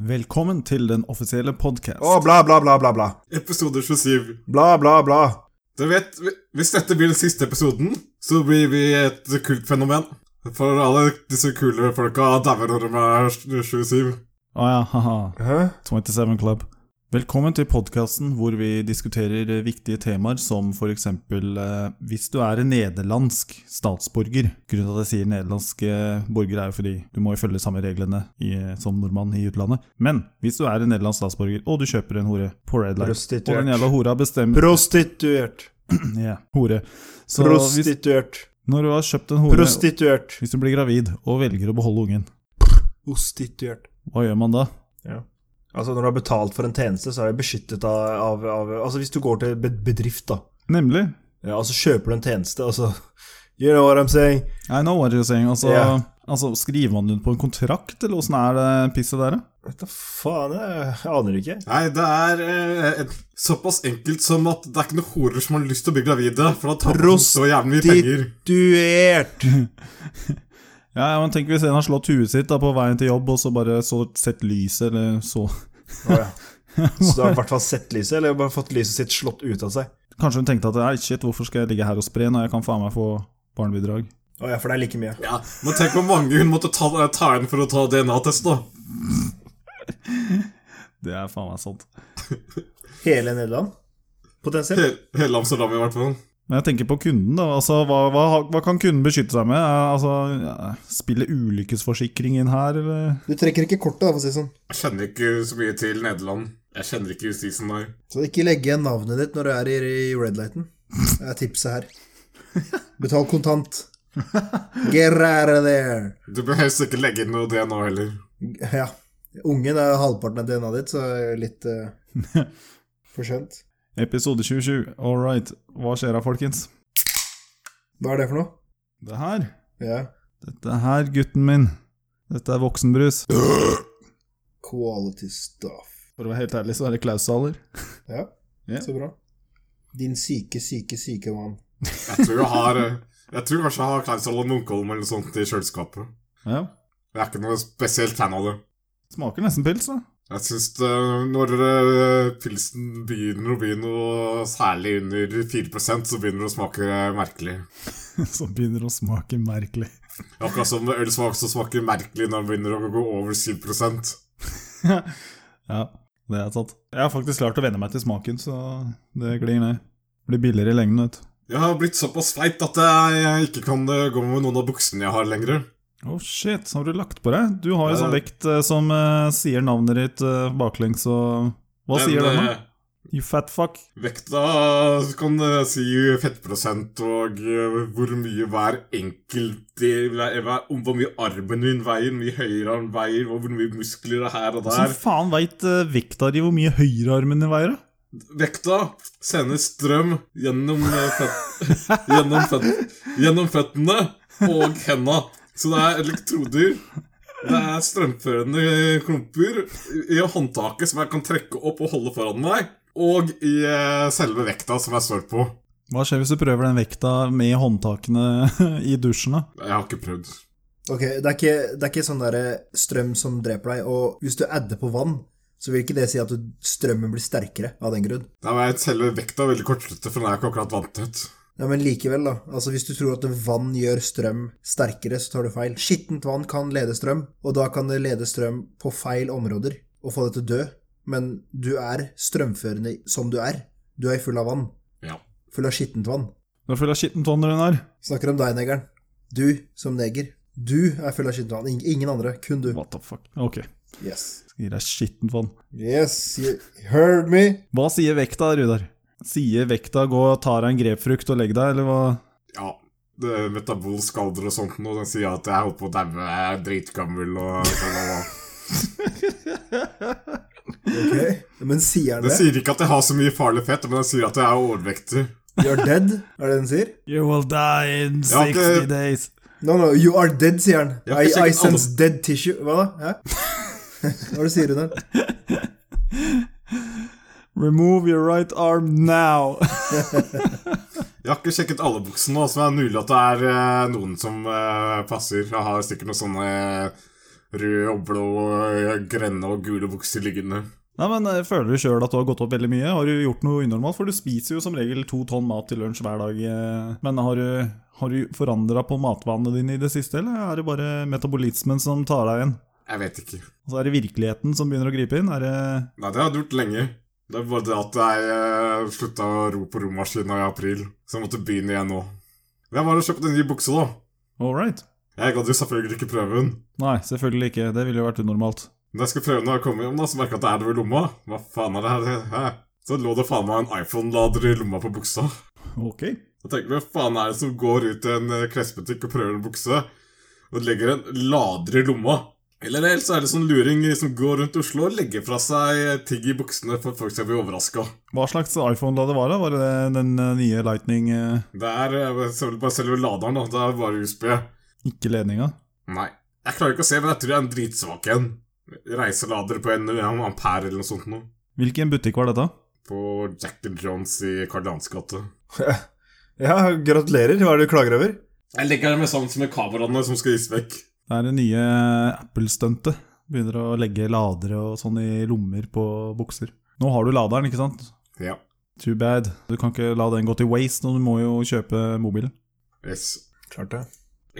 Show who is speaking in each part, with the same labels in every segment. Speaker 1: Velkommen til den offisielle podkast.
Speaker 2: Å, bla, bla, bla, bla, bla.
Speaker 3: Episode 27.
Speaker 2: Bla, bla, bla.
Speaker 3: Du vet, Hvis dette blir den siste episoden, så blir vi et kult fenomen. For alle disse kule folka dauer når de er 27.
Speaker 1: Å ja, haha.
Speaker 2: Hæ?
Speaker 1: 27 Club. Velkommen til podkasten hvor vi diskuterer eh, viktige temaer som for eksempel eh, Hvis du er en nederlandsk statsborger Grunnen til at jeg sier nederlandske borgere er jo fordi du må jo følge samme reglene i, eh, som nordmann i utlandet. Men hvis du er en nederlandsk statsborger og du kjøper en hore på Red Light Og den
Speaker 2: Prostituert.
Speaker 1: jævla hora bestemmer
Speaker 2: Prostituert.
Speaker 1: Ja, hore. Så hvis,
Speaker 2: Prostituert.
Speaker 1: når du har kjøpt en hore
Speaker 2: Prostituert.
Speaker 1: Hvis du blir gravid og velger å beholde ungen,
Speaker 2: Prostituert.
Speaker 1: hva gjør man da?
Speaker 2: Altså, når du har betalt for en tjeneste, så er det beskyttet av, av, av Altså, hvis du går til be- bedrift, da,
Speaker 1: Nemlig
Speaker 2: ja, og så kjøper du en tjeneste, og så You know what I'm saying?
Speaker 1: I know what you're saying. Altså,
Speaker 2: Ja.
Speaker 1: altså Skriver man det på en kontrakt, eller åssen er det pisset der? da?
Speaker 2: Vet da faen, jeg jeg aner ikke.
Speaker 3: Nei, det er eh, et, såpass enkelt som at det er ikke noen horer som har lyst til å bli gravide, for da taper de så jævlig mye penger.
Speaker 2: Prostituert.
Speaker 1: Ja, ja, men Tenk hvis en har slått huet sitt da på veien til jobb, og så bare så sett lyset, eller så
Speaker 2: Å, ja. Så du har i hvert fall sett lyset, eller bare fått lyset sitt slått ut av seg?
Speaker 1: Kanskje hun tenkte at Nei, shit, hvorfor skal jeg ligge her og spre når jeg kan faen meg få barnebidrag?
Speaker 2: Å ja, for det er like mye.
Speaker 3: Ja, Men tenk hvor mange hun måtte ta, eh, ta inn for å ta DNA-test, da.
Speaker 1: Det er faen meg sant.
Speaker 2: Hele Nederland? Potensielt?
Speaker 3: Hele, hele Amsterdam, i hvert fall.
Speaker 1: Men jeg tenker på kunden, da. Altså, hva, hva, hva kan kunden beskytte seg med? Eh, Altså, ja, Spille ulykkesforsikring inn her, eller?
Speaker 4: Du trekker ikke kortet, da, for å si det sånn.
Speaker 3: Jeg kjenner ikke så mye til Nederland. Jeg kjenner ikke justisen der.
Speaker 4: Så ikke legge igjen navnet ditt når du er i, i red lighten. Det er tipset her. Betal kontant. Get out of there.
Speaker 3: Du bør helst ikke legge inn noe DNA heller.
Speaker 4: Ja. Ungen er halvparten av DNA-et ditt, så er det litt uh, for sent.
Speaker 1: Episode 27. All right. Hva skjer da, folkens?
Speaker 4: Hva er det for noe?
Speaker 1: Det her
Speaker 4: Ja.
Speaker 1: Dette her, gutten min. Dette er voksenbrus.
Speaker 4: Quality stuff.
Speaker 1: For å være helt ærlig, så er det klaussaler.
Speaker 4: Ja,
Speaker 1: Ja.
Speaker 4: så bra. Din syke, syke, syke mann.
Speaker 3: Jeg tror jeg har eh, Jeg tror kanskje jeg har Klausel og Munkholm eller noe sånt i kjøleskapet.
Speaker 1: Ja.
Speaker 3: Jeg er ikke noe spesielt fan av det.
Speaker 1: Smaker nesten pils, da.
Speaker 3: Jeg syns det, når eh, pilsen begynner å bli noe særlig under 4 så begynner det å smake merkelig.
Speaker 1: Som begynner å smake merkelig.
Speaker 3: Akkurat som øl smaker, så smaker det merkelig når den begynner å gå over 7 Jeg
Speaker 1: Ja, det er sant. Jeg har faktisk klart å venne meg til smaken, så det glir ned. Blir billigere i lengden, vet du.
Speaker 3: har blitt såpass feit at jeg ikke kan eh, gå med noen av buksene jeg har lenger.
Speaker 1: Oh shit, har du lagt på deg? Du har jo
Speaker 3: Ja.
Speaker 1: sånn vekt eh, som eh, sier navnet ditt eh, baklengs og Hva sier den, eh,
Speaker 3: eh,
Speaker 1: da? You fat fuck.
Speaker 3: Vekta du kan eh, si fettprosent og eh, hvor mye hver enkelt eh, hver, hver, om Hvor mye armen min veier, hvor mye høyre arm veier, hvor mye muskler det er her og
Speaker 1: Hvordan
Speaker 3: der.
Speaker 1: faen veit uh, vekta di hvor mye høyrearmen din veier? da?
Speaker 3: Vekta sender strøm gjennom eh, føt, gjennom, føt, gjennom føttene og henda. Så det er elektroder. Det er strømførende klumper i håndtaket som jeg kan trekke opp og holde foran meg, og i eh, selve vekta som jeg står på.
Speaker 1: Hva skjer hvis du prøver den vekta med håndtakene i dusjen? da?
Speaker 3: Jeg har ikke prøvd.
Speaker 4: Ok, det er ikke, det er ikke sånn der strøm som dreper deg, og hvis du adder på vann, så vil ikke det si at du, strømmen blir sterkere av den grunn.
Speaker 3: Nei, men jeg- Selve vekta er veldig kortsluttet, for den er ikke akkurat vanntett.
Speaker 4: Ja, men likevel, da. Altså, hvis du tror at vann gjør strøm sterkere, så tar du feil. Skittent vann kan lede strøm, og da kan det lede strøm på feil områder og få deg til å dø. Men du er strømførende som du er. Du er full av vann.
Speaker 3: Ja.
Speaker 4: Full av skittent vann.
Speaker 1: Du er full av skittent vann rundt her.
Speaker 4: Snakker om deg, negeren. Du som neger. Du er full av skittent vann. Ing- Ingen andre. Kun du.
Speaker 1: What the fuck? Ok,
Speaker 4: Yes.
Speaker 1: skal gi deg skittent vann.
Speaker 4: Yes, you heard me.
Speaker 1: Hva sier vekta, Rudar? Sier vekta gå og ta deg en grepfrukt og legg deg, eller hva?
Speaker 3: ja. Det er metabolsk alder og sånt nå, den sier at jeg holdt på å daue, jeg er dritgammel og sånn. og-
Speaker 4: Ok, Men sier han
Speaker 3: Den
Speaker 4: det?
Speaker 3: sier ikke at jeg har så mye farlig fett, men den sier at jeg er overvektig.
Speaker 4: You're dead? Er det den sier?
Speaker 1: You will die in
Speaker 3: Ja, ok.
Speaker 1: 60 days.
Speaker 4: No, no, you are dead, sier han.
Speaker 3: Jeg har
Speaker 4: I,
Speaker 3: ikke
Speaker 4: I
Speaker 3: sjekket alle-
Speaker 4: sense dead tissue. Hva da? Hæ? Hva er det sier hun der?
Speaker 1: Remove your right arm now.
Speaker 3: Jeg har ikke sjekket alle buksene, og så er det mulig at det er eh, noen som eh, passer. Jeg har sikkert noen sånne røde og blå, eh, grønne og gule bukser liggende.
Speaker 1: Nei, men eh, Føler du sjøl at du har gått opp veldig mye? Har du gjort noe unormalt? For du spiser jo som regel to tonn mat til lunsj hver dag. eh. Men har du, har du forandra på matvanene dine i det siste, eller er det bare metabolismen som tar deg igjen?
Speaker 3: Jeg vet ikke.
Speaker 1: Altså, Er det virkeligheten som begynner å gripe inn? Er det
Speaker 3: Nei, det har jeg gjort lenge. Det er bare det at jeg eh, slutta å ro på romaskina i april, så jeg måtte begynne igjen nå. Men jeg var og kjøpte en ny bukse, da.
Speaker 1: all right?
Speaker 3: Jeg gadd jo selvfølgelig ikke prøve den.
Speaker 1: Nei, selvfølgelig ikke. Det ville jo vært unormalt.
Speaker 3: Men jeg skulle prøve når jeg kom hjem, da, så merka jeg at det er noe i lomma. Hva faen er det her? Hæ? Så lå det faen meg en iPhone-lader i lomma på buksa.
Speaker 1: Ok.
Speaker 3: Jeg tenker, Hvem faen er det som går ut til en eh, klesbutikk og prøver en bukse, og legger en lader i lomma? Eller ellers er det sånn luring som går rundt Oslo og legger fra seg eh, ting i buksene for at folk skal bli overraska.
Speaker 1: Hva slags iPhone da det var? da? Var det den eh, nye Lightning, eh,
Speaker 3: Det er eh, selv- bare selve laderen, da. Det er bare USB.
Speaker 1: ikke ledninga?
Speaker 3: Nei. Jeg klarer ikke å se, men jeg tror jeg er en dritsvak en. Reiselader på en, en ampere eller noe sånt noe.
Speaker 1: Hvilken butikk var dette?
Speaker 3: På Jack and Jones i Karl Johans gate.
Speaker 2: Ja, gratulerer. Hva er det du klager over?
Speaker 3: Jeg legger dem sammen med kameraene som skal gis vekk.
Speaker 1: Det er det nye Apple-stuntet. Begynner å legge ladere og sånn i lommer på bukser. Nå har du laderen, ikke sant?
Speaker 3: Ja.
Speaker 1: Too bad. Du kan ikke la den gå til waste, og du må jo kjøpe mobilen.
Speaker 3: Yes.
Speaker 2: Klart det.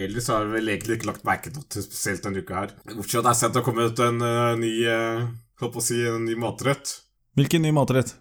Speaker 3: Ellers har vi vel egentlig ikke lagt merke til noe spesielt denne uka her. Bortsett fra at det er sent å komme ut en eh, ny eh, Holdt på å si en ny matrett.
Speaker 1: Hvilken ny matrett?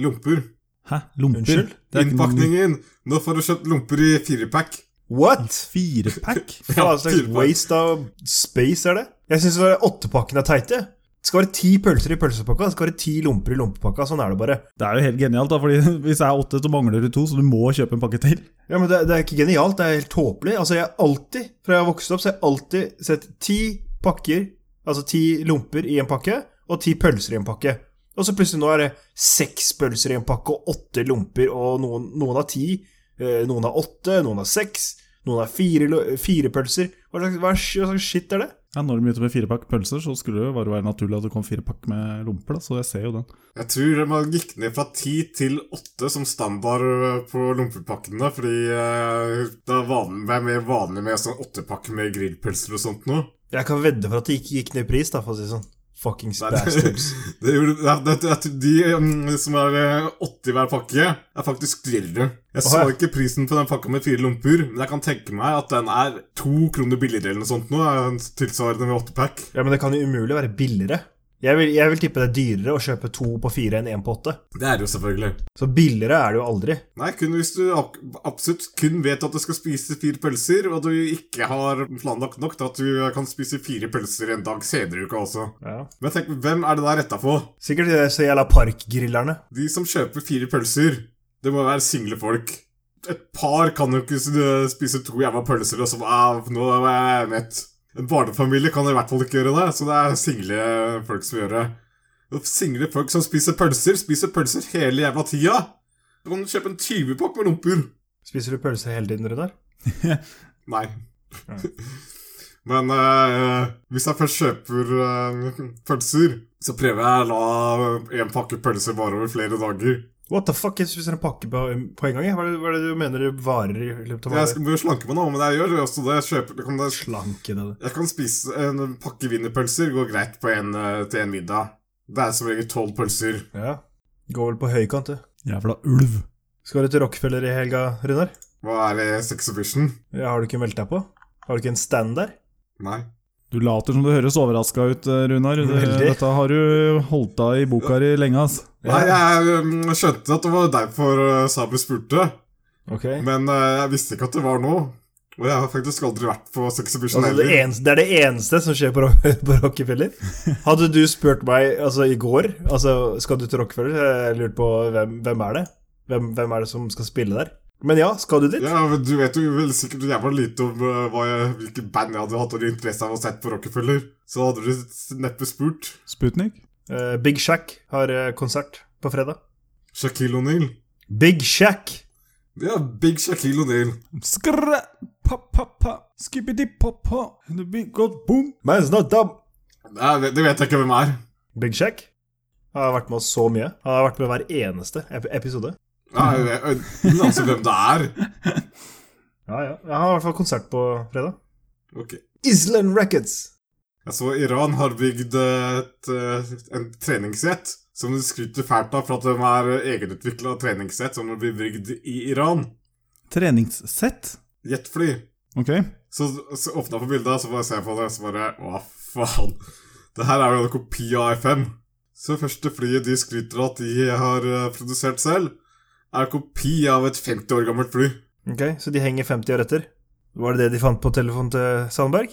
Speaker 3: Lomper.
Speaker 1: Hæ? Lomper?
Speaker 2: Unnskyld?
Speaker 1: Det er ikke noe-
Speaker 3: Innpakningen! Nå får du kjøpt lomper i firepack.
Speaker 2: What?!
Speaker 1: Firepack?
Speaker 2: Hva slags
Speaker 3: firepack.
Speaker 2: waste av space er det? Jeg syns åttepakkene er teite. Det skal være ti pølser i pølsepakka, det skal være ti lomper i lompepakka. Sånn er det bare.
Speaker 1: Det er jo helt genialt, da, fordi hvis det er åtte, så mangler du to, så du må kjøpe en pakke til.
Speaker 2: Ja, men det, det er ikke genialt, det er helt tåpelig. Altså, jeg har alltid, fra jeg har vokst opp, så har jeg alltid sett ti pakker, altså ti lomper i en pakke, og ti pølser i en pakke. Og så plutselig nå er det seks pølser i en pakke, og åtte lomper, og noen, noen har ti, eh, noen har åtte, noen har seks, noen har fire, lo- fire pølser. Hva slags, hva slags shit er det?
Speaker 1: Ja, når du begynte med firepakk pølser, så skulle det jo bare være naturlig at det kom firepakk med lomper, da, så jeg ser jo den.
Speaker 3: Jeg tror man gikk ned fra 10 til 8 som standard eh, på lompepakkene, fordi eh, det er vanlig, det er mer vanlig med sånn åttepakke med grillpølser og sånt nå.
Speaker 2: Jeg kan vedde for at det ikke gikk ned i pris, da, for å si det sånn. Fuckings
Speaker 3: Nei,
Speaker 2: bastards.
Speaker 3: Det gjorde, ja, det, det, det, de mm, som er eh, 80 hver pakke, er faktisk dyrere. Jeg så
Speaker 2: Åh, ja.
Speaker 3: ikke prisen på den pakka med fire lomper, men jeg kan tenke meg at den er to kroner billigere eller noe sånt nå. eh, Tilsvarende med åttepack.
Speaker 2: Ja, men det kan jo umulig være billigere. Jeg vil, jeg vil tippe det er dyrere å kjøpe to på fire enn én på åtte.
Speaker 3: Det er det jo selvfølgelig.
Speaker 2: Så billigere er det jo aldri.
Speaker 3: Nei, kun hvis du ak- absolutt kun vet at du skal spise fire pølser, og du ikke har planlagt nok til at du kan spise fire pølser en dag senere i uka også. Men tenk, hvem er det der retta på?
Speaker 2: Sikkert de der så jævla parkgrillerne.
Speaker 3: De som kjøper fire pølser, det må være single folk. Et par kan jo ikke s- øh, spise to jævla pølser og så «Au, Nå er jeg mett. En barnefamilie kan i hvert fall ikke gjøre det, så det er single folk som gjør det. Og Single folk som spiser pølser, spiser pølser hele jævla tida. Du kan kjøpe en 20-pakk med lomper.
Speaker 2: Spiser du pølse hele tiden, Runar?
Speaker 3: Nei. Men eh, hvis jeg først kjøper eh, pølser, så prøver jeg å la en pakke pølser vare over flere dager.
Speaker 2: What the fuck? Jeg spiser en pakke på, på en gang. jeg. Hva er, det, hva er det du mener du varer i løpet av
Speaker 3: Jeg
Speaker 2: varer?
Speaker 3: skal må jo slanke meg nå, men jeg gjør jo også det. Jeg, kjøper, jeg, kan,
Speaker 2: Slanke det.
Speaker 3: jeg kan spise en pakke wienerpølser. Går greit på en, eh, til en middag. Det er som regel tolv pølser.
Speaker 2: Ja. Går vel på høykant, du.
Speaker 1: Jævla ulv.
Speaker 2: Skal du til Rockefeller i helga, Runar?
Speaker 3: Hva er det? Sexhibition?
Speaker 2: Ja, har du ikke meldt deg på? Har du ikke en stand der?
Speaker 3: Nei.
Speaker 1: Du later som du høres overraska ut, eh, Runar. Du,
Speaker 2: Veldig.
Speaker 1: dette har du holdt deg i boka di lenge, ass.
Speaker 3: Nei, jeg mm, skjønte at det var derfor eh, Sabu spurte,
Speaker 2: Ok.
Speaker 3: men eh, jeg visste ikke at det var noe. Og jeg har faktisk aldri vært på sexhibition
Speaker 2: Altså, det,
Speaker 3: heller.
Speaker 2: eneste, det er det eneste som skjer på, Ro- på Rockefeller. Hadde du spurt meg altså, i går altså, Skal du til Rockefeller, jeg lurte på hvem, hvem er det hvem, hvem er det som skal spille der? Men ja, skal du dit?
Speaker 3: Ja, men Du vet jo vel sikkert jævla lite om eh, hva jeg, hvilke band jeg hadde hatt og interesse av å sett på Rockefeller. Så hadde du s- neppe spurt.
Speaker 1: Sputnik?
Speaker 2: Eh, Big Shack har eh, konsert på fredag.
Speaker 3: Shaquille O'Neal.
Speaker 2: Big Shack!
Speaker 3: Ja, big Shaquille O'Neal.
Speaker 1: Skrrre, pa-pa-pa, skippidi-pa-pa, the big god boom.
Speaker 2: Man's not dumb!
Speaker 3: Nei, Det det vet jeg ikke hvem er.
Speaker 2: Big Shack har vært med oss så mye. Han har vært med hver eneste ep episode.
Speaker 3: Nei, jeg, jeg, ingen anelse hvem det er.
Speaker 2: Ja, ja. Han har i hvert fall konsert på fredag.
Speaker 3: Ok.
Speaker 2: Island Records!
Speaker 3: Jeg så Iran har bygd et, eh, en treningssett som de skryter fælt av for at de er egenutvikla treningssett som blir bygd i Iran.
Speaker 1: Treningssett?
Speaker 3: Jetfly.
Speaker 1: Ok.
Speaker 3: Så, så åpna på bildet, så bare ser jeg på det, så bare Hva faen? Det her er jo en kopi av F5. Så første flyet de skryter av at de har eh, produsert selv, er kopi av et 50 år gammelt fly.
Speaker 2: Ok, Så de henger 50 år etter? Var det det de fant på telefonen til Sandberg?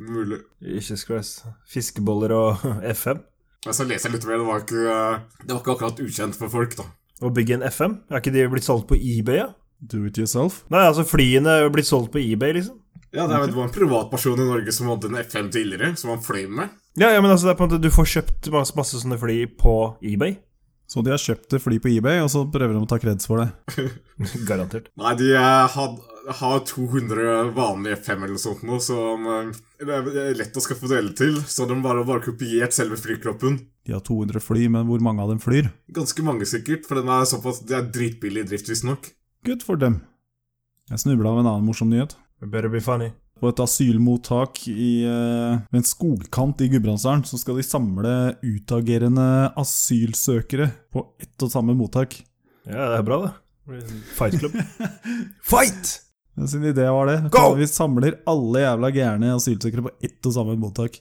Speaker 3: Mulig.
Speaker 2: Jesus Christ. Fiskeboller og FM.
Speaker 3: Men så leser jeg litt mer, det var ikke, eh, det var ikke akkurat ukjent for folk, da.
Speaker 2: Å bygge en FM? Er ikke de blitt solgt på eBay? Ja?
Speaker 1: Do it yourself.
Speaker 2: Nei, altså flyene er jo blitt solgt på eBay, liksom.
Speaker 3: Ja, det, er, det var en privatperson i Norge som hadde en F5 tidligere, som han fløy med.
Speaker 2: Ja, ja, men altså, det er på en måte du får kjøpt masse, masse sånne fly på eBay.
Speaker 1: Så de har kjøpt et fly på eBay, og så prøver de å ta kreds for det.
Speaker 2: Garantert.
Speaker 3: Nei, de eh, had, har 200 vanlige F5 eller noe sånt nå, som eh, det er- det er lett å skaffe deler til, så de bare bare kopiert selve flykroppen.
Speaker 1: De har 200 fly, men hvor mange av dem flyr?
Speaker 3: Ganske mange sikkert, for den er såpass, det er dritbillig i drift visstnok.
Speaker 1: Good for them. Jeg snubla av en annen morsom nyhet.
Speaker 2: It better be funny.
Speaker 1: På et asylmottak i, eh, ved en skogkant i Gudbrandsdalen så skal de samle utagerende asylsøkere på ett og samme mottak.
Speaker 2: Ja, det er bra, det. Fight Club. Fight!
Speaker 1: Men Sin idé var det.
Speaker 2: Go!
Speaker 1: Vi samler alle jævla gærne asylsøkere på ett og samme mottak.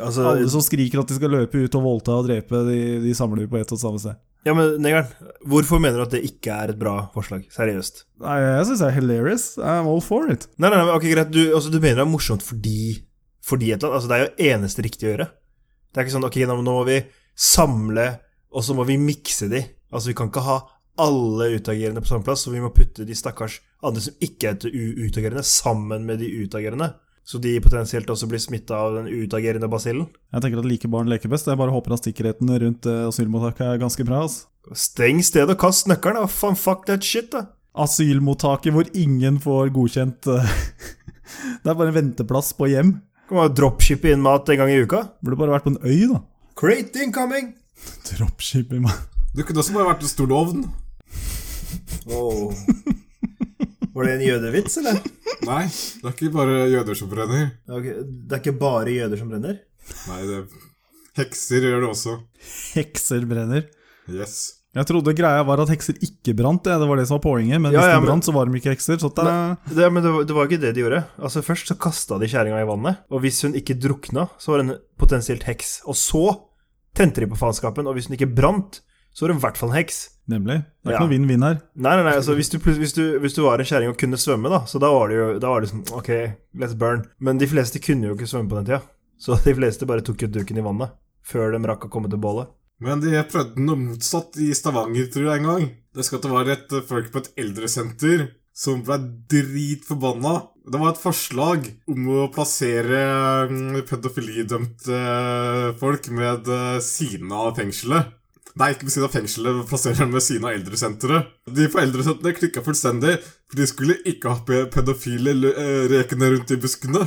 Speaker 2: Altså,
Speaker 1: Alle som skriker at de skal løpe ut og voldta og drepe, de, de samler vi på ett og samme sted.
Speaker 2: ja, men Negeren, hvorfor mener du at det ikke er et bra forslag? Seriøst.
Speaker 1: Nei, jeg syns det er hilarious. I'm all for it.
Speaker 2: Nei, nei, nei, men ok, greit. Du, altså, du mener det er morsomt fordi, fordi et eller annet. Altså, det er jo eneste riktige å gjøre. Det er ikke sånn ok, nå nå må vi samle, og så må vi mikse de. Altså, vi kan ikke ha alle utagerende på samme plass, så vi må putte de stakkars andre som ikke er u- utagerende, sammen med de utagerende. Så de potensielt også blir smitta av den utagerende basillen.
Speaker 1: Jeg tenker at like barn leker best. Jeg bare håper at sikkerheten rundt eh, asylmottaket er ganske bra. ass.
Speaker 2: Steng stedet og kast nøkkelen, da. Faen, fuck that shit, da.
Speaker 1: Asylmottaket hvor ingen får godkjent eh, Det er bare en venteplass på hjem.
Speaker 2: Kan man dropshippe inn mat en gang i uka?
Speaker 1: Burde bare vært på en øy, da.
Speaker 4: Crate incoming!
Speaker 1: Dropshipping, mann.
Speaker 3: Det kunne også bare vært en stor ovn.
Speaker 4: Wow. Var det en jødevits, eller?
Speaker 3: Nei, det er ikke bare jøder som brenner.
Speaker 4: Ok, Det er ikke bare jøder som brenner?
Speaker 3: Nei, det Hekser gjør det også.
Speaker 1: Hekser brenner.
Speaker 3: Yes.
Speaker 1: Jeg trodde greia var at hekser ikke brant, jeg. det var det som var poenget. Men
Speaker 2: Ja,
Speaker 1: hvis
Speaker 2: ja,
Speaker 1: de
Speaker 2: men-
Speaker 1: brant, så var de ikke hekser. Så det er
Speaker 2: Det, men det var, det var ikke det de gjorde. Altså Først så kasta de kjerringa i vannet, og hvis hun ikke drukna, så var hun potensielt heks. Og så tente de på faenskapen, og hvis hun ikke brant, så var hun i hvert fall en heks.
Speaker 1: Nemlig. Det er
Speaker 2: Ja.
Speaker 1: ikke noe vinn-vinn her.
Speaker 2: Nei, nei, nei, altså hvis du, plut- hvis du, hvis du var en kjerring og kunne svømme, da, så da var det jo da var det sånn Ok, let's burn. Men de fleste kunne jo ikke svømme på den tida, så de fleste bare tok ut duken i vannet før de rakk å komme til bålet.
Speaker 3: Men de prøvde noe motsatt i Stavanger, tror jeg, en gang. Det skal det være et eh, folk på et eldresenter som ble dritforbanna. Det var et forslag om å plassere mm, pedofilidømte eh, folk med eh, siden av fengselet. Nei, ikke ved siden av fengselet, men plassere dem ved siden av eldresenteret. De på eldresenteret klikka fullstendig, for de skulle ikke ha pe- pedofile lø- eh, rekende rundt i buskene.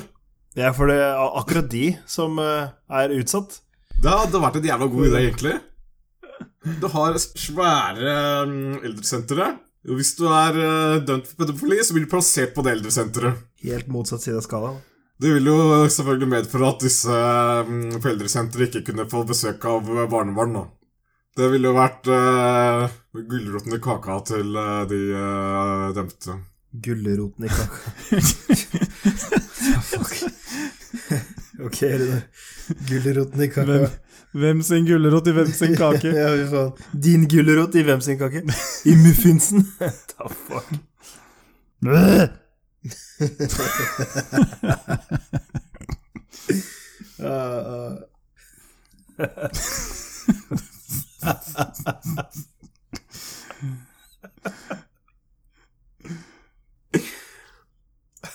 Speaker 2: Det er for det er akkurat de som eh, er utsatt.
Speaker 3: Det hadde vært en jævla god idé, egentlig. Du har svære mm, eldresentre. Og hvis du er eh, dømt for pedofili, så blir du plassert på det eldresenteret.
Speaker 4: Helt motsatt side av skalaen.
Speaker 3: Det vil jo selvfølgelig medføre at disse mm, på eldresenteret ikke kunne få besøk av eh, barnebarn. da. Det ville jo vært uh, gulroten i kaka til eh, de eh, dømte.
Speaker 4: Gulroten i kaka. Ja, Fuck. Ok, Rune. Gulroten i kaka.
Speaker 1: Hvem, hvem sin gulrot i hvem sin kake?
Speaker 4: Ja, fy faen.
Speaker 2: Din gulrot i hvem sin kake? I muffinsen? Da fuck.
Speaker 4: Ah, ah.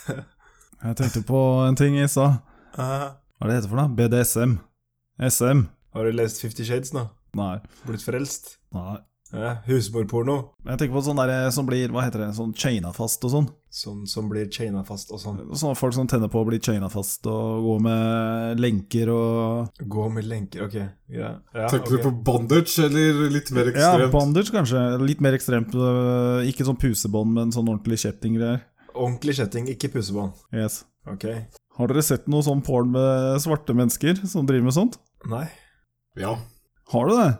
Speaker 1: Jeg tenkte på en ting i stad. Hva er det heter for noe? BDSM? SM?
Speaker 2: Har du lest Fifty Shades nå?
Speaker 1: Nei.
Speaker 2: Blitt frelst?
Speaker 1: Nei.
Speaker 2: Ja, husmorporno?
Speaker 1: Jeg tenker på sånn der som blir Hva heter det? Sånn chaina fast og sånn.
Speaker 2: Sånn som blir chaina fast og sånn.
Speaker 1: Sånne folk som tenner på å bli chaina fast og går med lenker og
Speaker 2: Gå med lenker, ok. Ja, ja ok.
Speaker 3: Tenker du på bandage eller litt mer
Speaker 1: Ja,
Speaker 3: ekstremt?
Speaker 1: bandage, kanskje. Litt mer ekstremt. øh, Ikke sånn pusebånd, men sånn ordentlig kjettinggreier.
Speaker 2: Ordentlig kjetting, ikke pussebånd.
Speaker 1: Yes.
Speaker 2: Ok.
Speaker 1: Har dere sett noe sånn porn med svarte mennesker som driver med sånt?
Speaker 2: Nei.
Speaker 3: Ja.
Speaker 1: Har du det?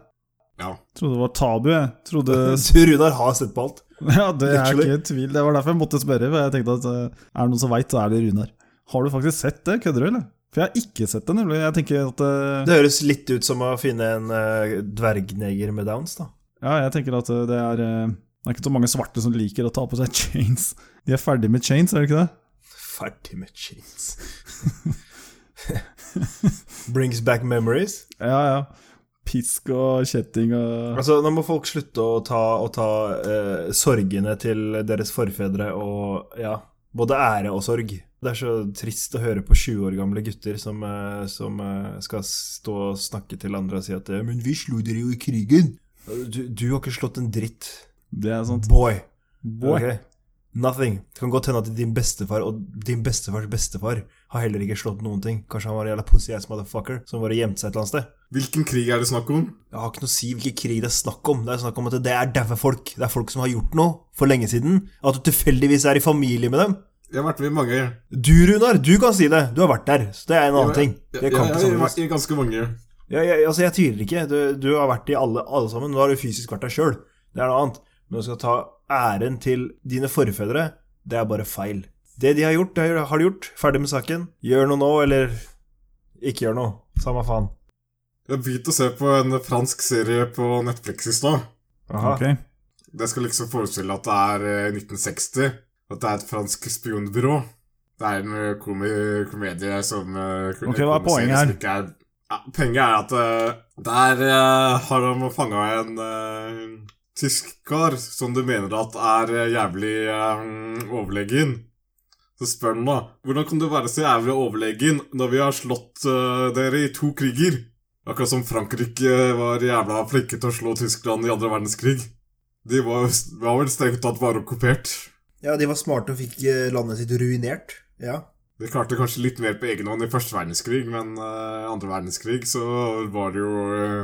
Speaker 3: Ja.
Speaker 1: Trodde det var tabu, jeg. Trodde
Speaker 3: Eh.
Speaker 2: Så Runar har sett på alt.
Speaker 1: Ja, det er
Speaker 2: Literally.
Speaker 1: ikke i tvil. Det var derfor jeg måtte spørre. For jeg tenkte at eh, er det noen som veit, så er det Runar. Har du faktisk sett det? Kødder du, eller? For jeg har ikke sett det, nemlig. Jeg tenker at eh,
Speaker 2: Det høres litt ut som å finne en eh, dvergneger med downs, da.
Speaker 1: Ja, jeg tenker at eh, det er eh, Det er ikke så mange svarte som liker å ta på seg chains. De er ferdig med chains, er det ikke det?
Speaker 2: Ferdig med jeans. Brings back memories.
Speaker 1: Ja, ja. Pisk og kjetting og
Speaker 2: Altså, Nå må folk slutte å ta, å ta eh, sorgene til deres forfedre og ja, både ære og sorg. Det er så trist å høre på 20 år gamle gutter som, eh, som eh, skal stå og snakke til andre og si at eh, 'Men vi slo dere jo i krigen'. Du, du har ikke slått en dritt.
Speaker 1: Det er sånt.
Speaker 2: Boy.
Speaker 1: Boy.
Speaker 2: Ok. Nothing. Det kan godt hende at din bestefar og din bestefars bestefar har heller ikke slått noen ting. Kanskje han var en jævla pussy ass motherfucker som bare gjemte seg et eller annet sted.
Speaker 3: Hvilken krig er det snakk om?
Speaker 2: Jeg har ikke noe å si hvilken krig det er snakk om. Det er snakk om at det er daue folk. Det er folk som har gjort noe for lenge siden. At du tilfeldigvis er i familie med dem.
Speaker 3: Jeg har vært med i mange.
Speaker 2: Du, Runar, du kan si det. Du har vært der. Så det er en annen ting. Det kan ikke
Speaker 3: jeg, jeg,
Speaker 2: sammenlignes.
Speaker 3: jeg, jeg, ganske mange.
Speaker 2: Ja, jeg, altså, jeg tviler ikke. Du, du har vært i alle, alle sammen. Nå har du fysisk vært deg sjøl. Det er noe annet. Men å skal ta æren til dine forfedre, det er bare feil. Det de har gjort, det har de gjort. Ferdig med saken. Gjør noe nå, eller ikke gjør noe. Samme faen.
Speaker 3: Jeg begynte å se på en fransk serie på Netflix i stad.
Speaker 2: Aha.
Speaker 1: Ok.
Speaker 3: Det skal liksom forestille at det er eh, 1960. At det er et fransk spionbyrå. Det er en eh, komi komedie som eh, kom-
Speaker 1: Ok, hva er
Speaker 3: komiserie
Speaker 1: poenget her?
Speaker 3: som ikke Er, ja, poenget er at eh, der eh, har de fanga en eh, tysk kar som du mener at er eh, jævlig eh, overlegen. Så spør han da hvordan kan du være så jævlig overlegen når vi har slått eh, dere i to kriger? Akkurat som Frankrike eh, var jævla flinke til å slå Tyskland i andre verdenskrig. De var, jo- var vel strengt tatt bare okkupert.
Speaker 4: Ja, de var smarte og fikk eh, landet sitt ruinert. Ja.
Speaker 3: De klarte kanskje litt mer på egen hånd i første verdenskrig, men eh, andre verdenskrig så var det jo eh,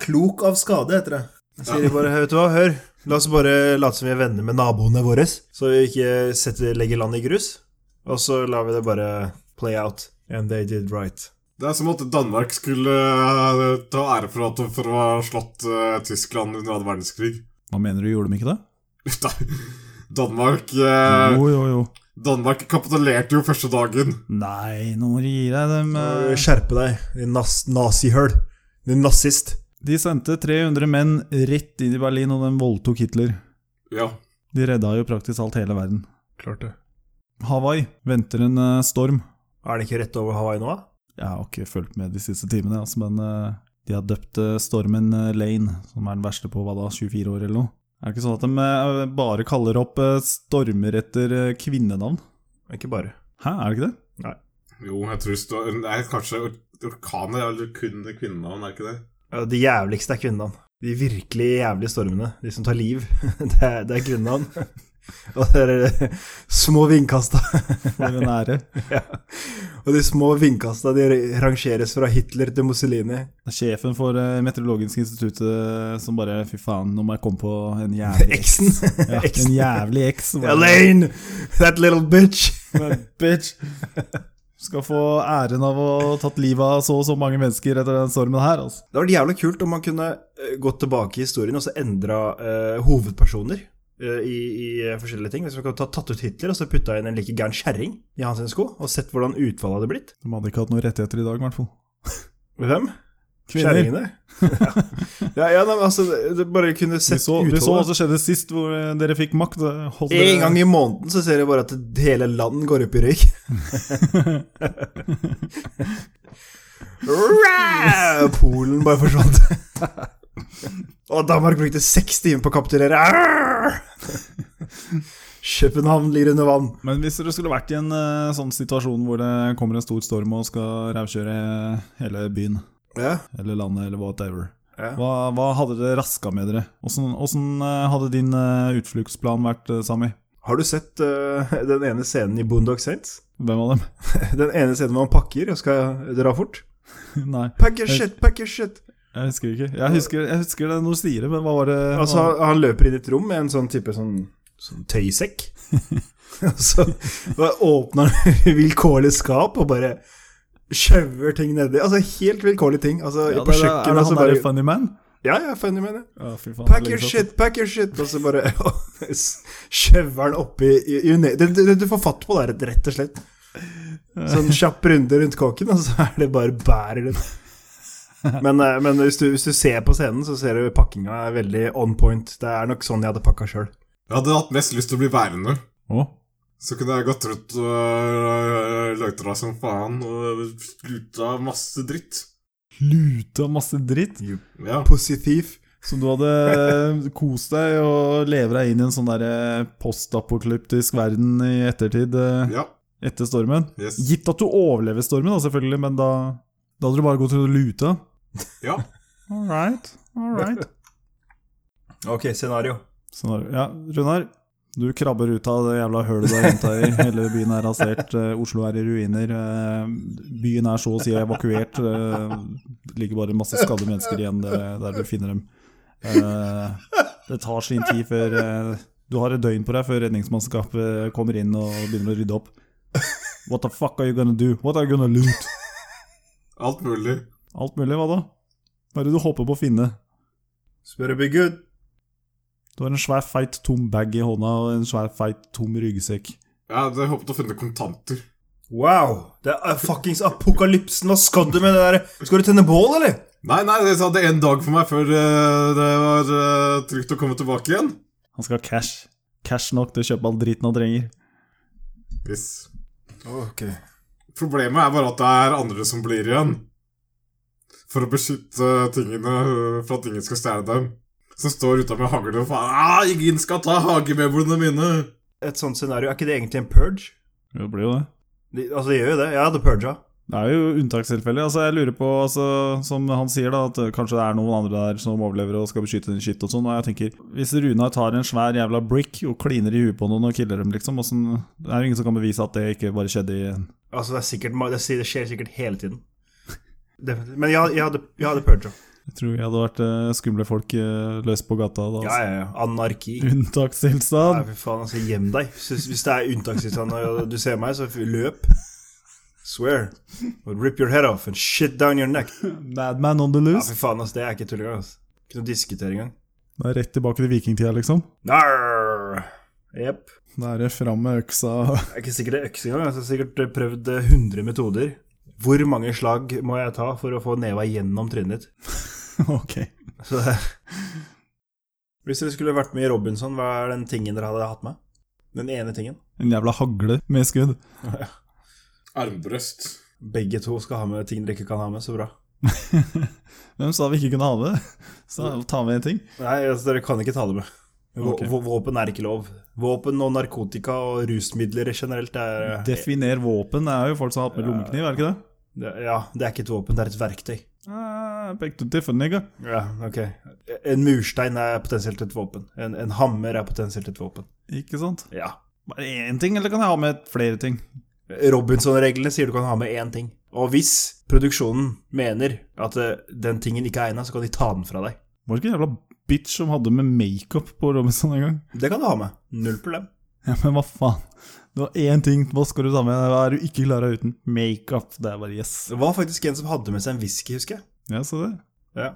Speaker 4: Klok av skade, heter det.
Speaker 2: Sier de bare, vet du hva, hør. La oss bare late som vi er venner med naboene våre, så vi ikke setter, legger landet i grus. Og så lar vi det bare play out. And they did right.
Speaker 3: Det er som at Danmark skulle eh, ta ære for, at, for å ha slått eh, Tyskland under andre verdenskrig.
Speaker 1: Hva mener du, gjorde de ikke det?
Speaker 3: Danmark eh,
Speaker 1: Jo, jo, jo.
Speaker 3: Danmark kapitulerte jo første dagen.
Speaker 1: Nei, nå må du gi deg dem. eh.
Speaker 2: Skjerpe deg, din nas nazihøl. Din nazist.
Speaker 1: De sendte 300 menn rett inn i Berlin, og de voldtok Hitler.
Speaker 3: Ja.
Speaker 1: De redda jo praktisk alt hele verden.
Speaker 2: Klart det.
Speaker 1: Hawaii venter en eh, storm.
Speaker 2: Er det ikke rett over Hawaii nå, da?
Speaker 1: Jeg har ikke fulgt med de siste timene, altså, men eh, de har døpt eh, stormen eh, Lane, som er den verste på hva da, 24 år eller noe. Er det ikke sånn at de eh, bare kaller opp eh, stormer etter eh, kvinnenavn?
Speaker 2: Ikke bare.
Speaker 1: Hæ, er det ikke det?
Speaker 3: Jo, jeg tror stå, Nei, kanskje or- orkaner er vel kun kvinnenavn, er ikke det?
Speaker 2: Ja, De jævligste er kvinnenavn. De virkelig jævlige stormene. De som tar liv. Det er, det er kvinnenavn. Og det er små vindkasta.
Speaker 1: For en ære.
Speaker 2: Ja. Og de små vindkasta de rangeres fra Hitler til Mussolini.
Speaker 1: Det er Sjefen for eh, Meteorologisk institutt eh, som bare Fy faen, nå må jeg komme på en jævlig eks.
Speaker 2: Eksen.
Speaker 1: Ja, en
Speaker 2: Eksen.
Speaker 1: jævlig eks. som bare-
Speaker 2: Elaine! That little bitch!
Speaker 1: Men Bitch! Skal få æren av å ha tatt livet av så og så mange mennesker etter den stormen her, altså.
Speaker 2: Det hadde vært jævla kult om man kunne eh, gått tilbake i historien og så endra eh, hovedpersoner eh, i, i eh, forskjellige ting. Hvis man kunne ta, tatt ut Hitler og så putta inn en like gæren kjerring i hans sko, og sett hvordan utfallet hadde blitt.
Speaker 1: De hadde ikke hatt noen rettigheter i dag, i hvert fall.
Speaker 2: Hvem?
Speaker 1: Kvinner.
Speaker 2: Kjerringene? ja, ja nei, men altså, det- det bare kunne
Speaker 1: Du
Speaker 2: sett
Speaker 1: så, du så hva
Speaker 2: utfallet.
Speaker 1: som skjedde sist, hvor eh, dere fikk makt. eh, Hold dere-
Speaker 2: En gang i måneden så ser du bare at hele land går opp i røyk. Rah! Polen bare forsvant. Og Danmark brukte seks timer på å kapitulere. Arr! København ligger under vann.
Speaker 1: Men hvis dere skulle vært i en eh, sånn situasjon hvor det kommer en stor storm og skal rævkjøre hele byen,
Speaker 2: Ja,
Speaker 1: eller landet, eller whatever,
Speaker 2: Ja.
Speaker 1: hva, hva hadde dere raska med dere? Åssen åssen, eh, hadde din eh, utfluktsplan vært, eh, Sami?
Speaker 2: Har du sett eh, den ene scenen i Boondock Saints?
Speaker 1: Hvem av dem?
Speaker 2: Den ene scenen hvor han pakker og skal dra fort?
Speaker 1: Nei,
Speaker 2: Pack your shit, pack your shit.
Speaker 1: jeg husker ikke. Jeg husker, jeg husker det noe stilig, men hva var det?
Speaker 2: Altså, han løper inn i et rom med en sånn type sånn, sånn tøysekk. Og så bare åpner han vilkårlig skap og bare sjauer ting nedi. Altså helt vilkårlige ting. Altså
Speaker 1: Ja,
Speaker 2: på
Speaker 1: det er, er
Speaker 2: kjøkkenet
Speaker 1: det
Speaker 2: og så
Speaker 1: han der
Speaker 2: bare
Speaker 1: funny man?
Speaker 2: Ja, ja, funny man, ja.
Speaker 1: Ja, fy faen,
Speaker 2: Pack
Speaker 1: det er
Speaker 2: your
Speaker 1: lenge
Speaker 2: shit, pack your shit! Og så bare sjauer han oppi i, i, ne- det, det, du får fatt på det, her, rett og slett. Sånn kjapp runde rundt kåken, og så er det bare bærer det. Men, eh, men hvis, du, hvis du ser på scenen, så ser du pakkinga er veldig on point. Det er nok sånn jeg hadde pakka sjøl.
Speaker 3: Jeg hadde hatt mest lyst til å bli værende.
Speaker 1: Å,
Speaker 3: Så kunne jeg gått rundt og løytra som faen og sluta masse dritt.
Speaker 1: luta masse dritt
Speaker 3: Ja.
Speaker 2: Pussy thief.
Speaker 1: som du hadde kost deg og lever deg inn i en sånn derre postapokalyptisk verden i ettertid, eh,
Speaker 3: ja.
Speaker 1: etter stormen.
Speaker 3: Yes.
Speaker 1: Gitt at du overlever stormen, da, selvfølgelig, men da, da hadde du bare gått rundt og luta.
Speaker 3: Ja.
Speaker 1: All right, all right.
Speaker 2: Ok, scenario.
Speaker 1: Sånn er det. Ja, Runar, du krabber ut av det jævla hølet du har hentet i. Hele byen er rasert, eh, Oslo er i ruiner. eh, byen er så å si evakuert. eh, Det ligger bare masse skadde mennesker igjen der, der du finner dem. Eh, det tar sin tid før eh, Du har et døgn på deg før redningsmannskapet kommer inn og begynner å rydde opp. What the fuck are you gonna do? What are you gonna loot?
Speaker 3: Alt mulig.
Speaker 1: Alt mulig, hva da? Hva er det du håper på å finne?
Speaker 4: Spør be good.
Speaker 1: Du har en svær, feit, tom bag i hånda og en svær, feit, tom ryggsekk.
Speaker 3: Jeg hadde håpet å finne kontanter.
Speaker 2: Wow! Det er fuckings apokalypsen! Hva skal du med det der? Skal du tenne bål, eller?
Speaker 3: Nei, nei, jeg hadde en dag for meg før eh, det var eh, trygt å komme tilbake igjen.
Speaker 1: Han skal ha cash. Cash nok til å kjøpe all driten han trenger.
Speaker 3: Yes.
Speaker 2: Ok.
Speaker 3: Problemet er bare at det er andre som blir igjen. For å beskytte tingene eh, for at ingen skal stjele dem. Som står ute med hagle og faen ah, Ingen skal ta hagemøblene mine!
Speaker 2: Et sånt scenario, er ikke det egentlig en purge?
Speaker 1: Det blir jo det.
Speaker 2: De, altså, de gjør jo det. Jeg hadde purga.
Speaker 1: Det er jo unntakstilfeller. Altså, jeg lurer på, altså, som han sier, da, at kanskje det er noen andre der som overlever og skal beskytte din shit og sånn. Og jeg tenker, hvis Runar tar en svær jævla brick og kliner i huet på noen og killer dem, liksom, åssen- det er jo ingen som kan bevise at det ikke bare skjedde i
Speaker 2: Altså, det, er sikkert, ma- det, sier- det skjer sikkert hele tiden. Definitivt. Men jeg, jeg hadde, jeg hadde purga.
Speaker 1: Jeg tror jeg hadde vært eh, skumle folk eh, løs på gata da.
Speaker 2: Ja,
Speaker 1: Altså.
Speaker 2: ja, ja. Anarki. Nei,
Speaker 1: Unntakstilstand.
Speaker 2: fy faen, altså, gjem deg. Hvis, hvis det er unntakstilstand og du ser meg, så løp. Swear. Or rip your head off and shit down your neck.
Speaker 1: Madman on the
Speaker 2: Ja,
Speaker 1: loose.
Speaker 2: fy faen, altså, det er ikke tull engang. Altså. Ikke noe diskutere engang.
Speaker 1: Det er rett tilbake til vikingtida, liksom.
Speaker 2: Narr! Jepp.
Speaker 1: Da er det fram med øksa.
Speaker 2: Det er ikke sikkert det er øks engang. altså. Jeg har sikkert prøvd eh, 100 metoder. Hvor mange slag må jeg ta for å få neva gjennom trynet ditt?
Speaker 1: ok.
Speaker 2: Så det Hvis dere skulle vært med i Robinson, hva er den tingen dere hadde hatt med? Den ene tingen?
Speaker 1: En jævla hagle med skudd.
Speaker 3: Armbrøst.
Speaker 2: Begge to skal ha med ting dere ikke kan ha med, så bra.
Speaker 1: Hvem sa vi ikke kunne ha med det? Så ta med en ting.
Speaker 2: Nei, altså, dere kan ikke ta det med. Vå-
Speaker 1: Ok.
Speaker 2: vå- Våpen er ikke lov. Våpen og narkotika og rusmidler generelt er eh,
Speaker 1: Definer våpen. Det er jo folk som har hatt med lommekniv, er det ikke det?
Speaker 2: det- Ja, det er ikke et våpen, det er et verktøy.
Speaker 1: Ah, back to different, nigga.
Speaker 2: Ja, ok. En murstein er potensielt et våpen. En, en hammer er potensielt et våpen.
Speaker 1: Ikke sant?
Speaker 2: Ja.
Speaker 1: Bare én ting, eller kan jeg ha med flere ting?
Speaker 2: Robinson-reglene sier du kan ha med én ting. Og hvis produksjonen mener at eh, den tingen ikke er egna, så kan de ta den fra deg.
Speaker 1: Var det ikke en jævla bitch som hadde med makeup på Robinson en gang?
Speaker 2: Det kan du ha med. Null problem.
Speaker 1: Ja, men hva faen? Du har én ting, hva skal du ta med? Hva er du ikke klarer deg uten? Makeup. Det er bare yes.
Speaker 2: Det var faktisk en som hadde med seg en whisky, husker jeg.
Speaker 1: Ja, se det.
Speaker 2: Ja.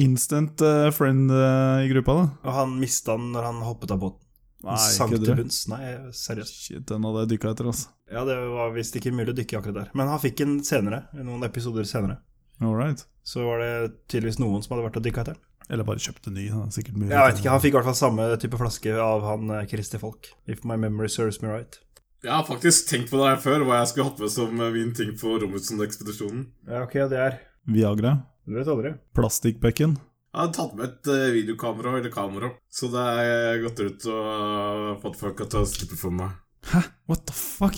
Speaker 1: Instant eh, friend eh, i gruppa, da.
Speaker 2: Og han mista den når han hoppet av båten. Han sank
Speaker 1: kødder
Speaker 2: til
Speaker 1: du?
Speaker 2: bunns. Nei, seriøst.
Speaker 1: Shit, den hadde jeg dykka etter, altså.
Speaker 2: Ja, det var visst ikke mulig å dykke akkurat der. Men han fikk den senere, noen episoder senere.
Speaker 1: All right.
Speaker 2: Så var det tydeligvis noen som hadde vært og dykka etter.
Speaker 1: Eller bare kjøpte ny. Da. Sikkert mye.
Speaker 2: Jeg vet ikke, Han fikk i hvert fall samme type flaske av han eh, Christer Folk. If my memory serves me right.
Speaker 3: Jeg har faktisk tenkt på det her før, hva jeg skulle hatt med som eh, min ting på Robinson-ekspedisjonen.
Speaker 2: Ja, ok, det er
Speaker 1: Viagra.
Speaker 2: Du vet aldri.
Speaker 1: Plastikkbekken.
Speaker 3: Jeg hadde tatt med et eh, videokamera eller kamera, så det er gått ut og eh, fått folk til å slippe for meg.
Speaker 1: Hæ? What the fuck?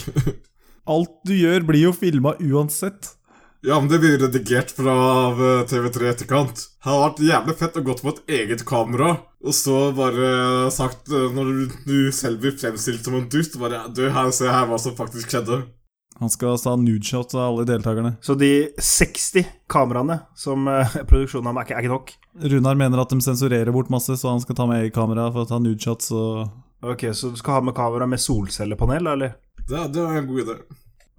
Speaker 1: Alt du gjør, blir jo filma uansett.
Speaker 3: Ja, men det blir redigert fra eh, TV3 i etterkant. Det hadde vært jævlig fett å gått på et eget kamera, og så bare eh, sagt eh, Når du, du selv blir fremstilt som en dust, bare Du, her, se her hva som faktisk skjedde.
Speaker 1: Han skal ta nudeshot av alle deltakerne.
Speaker 2: Så de 60 kameraene som eh, produksjonen har med, er ikke- er ikke nok?
Speaker 1: Runar mener at de sensurerer bort masse, så han skal ta med eget kamera for å ta nudeshots og
Speaker 2: Ok, Så du skal ha med kamera med solcellepanel, da, eller?
Speaker 3: Det, det er en god idé.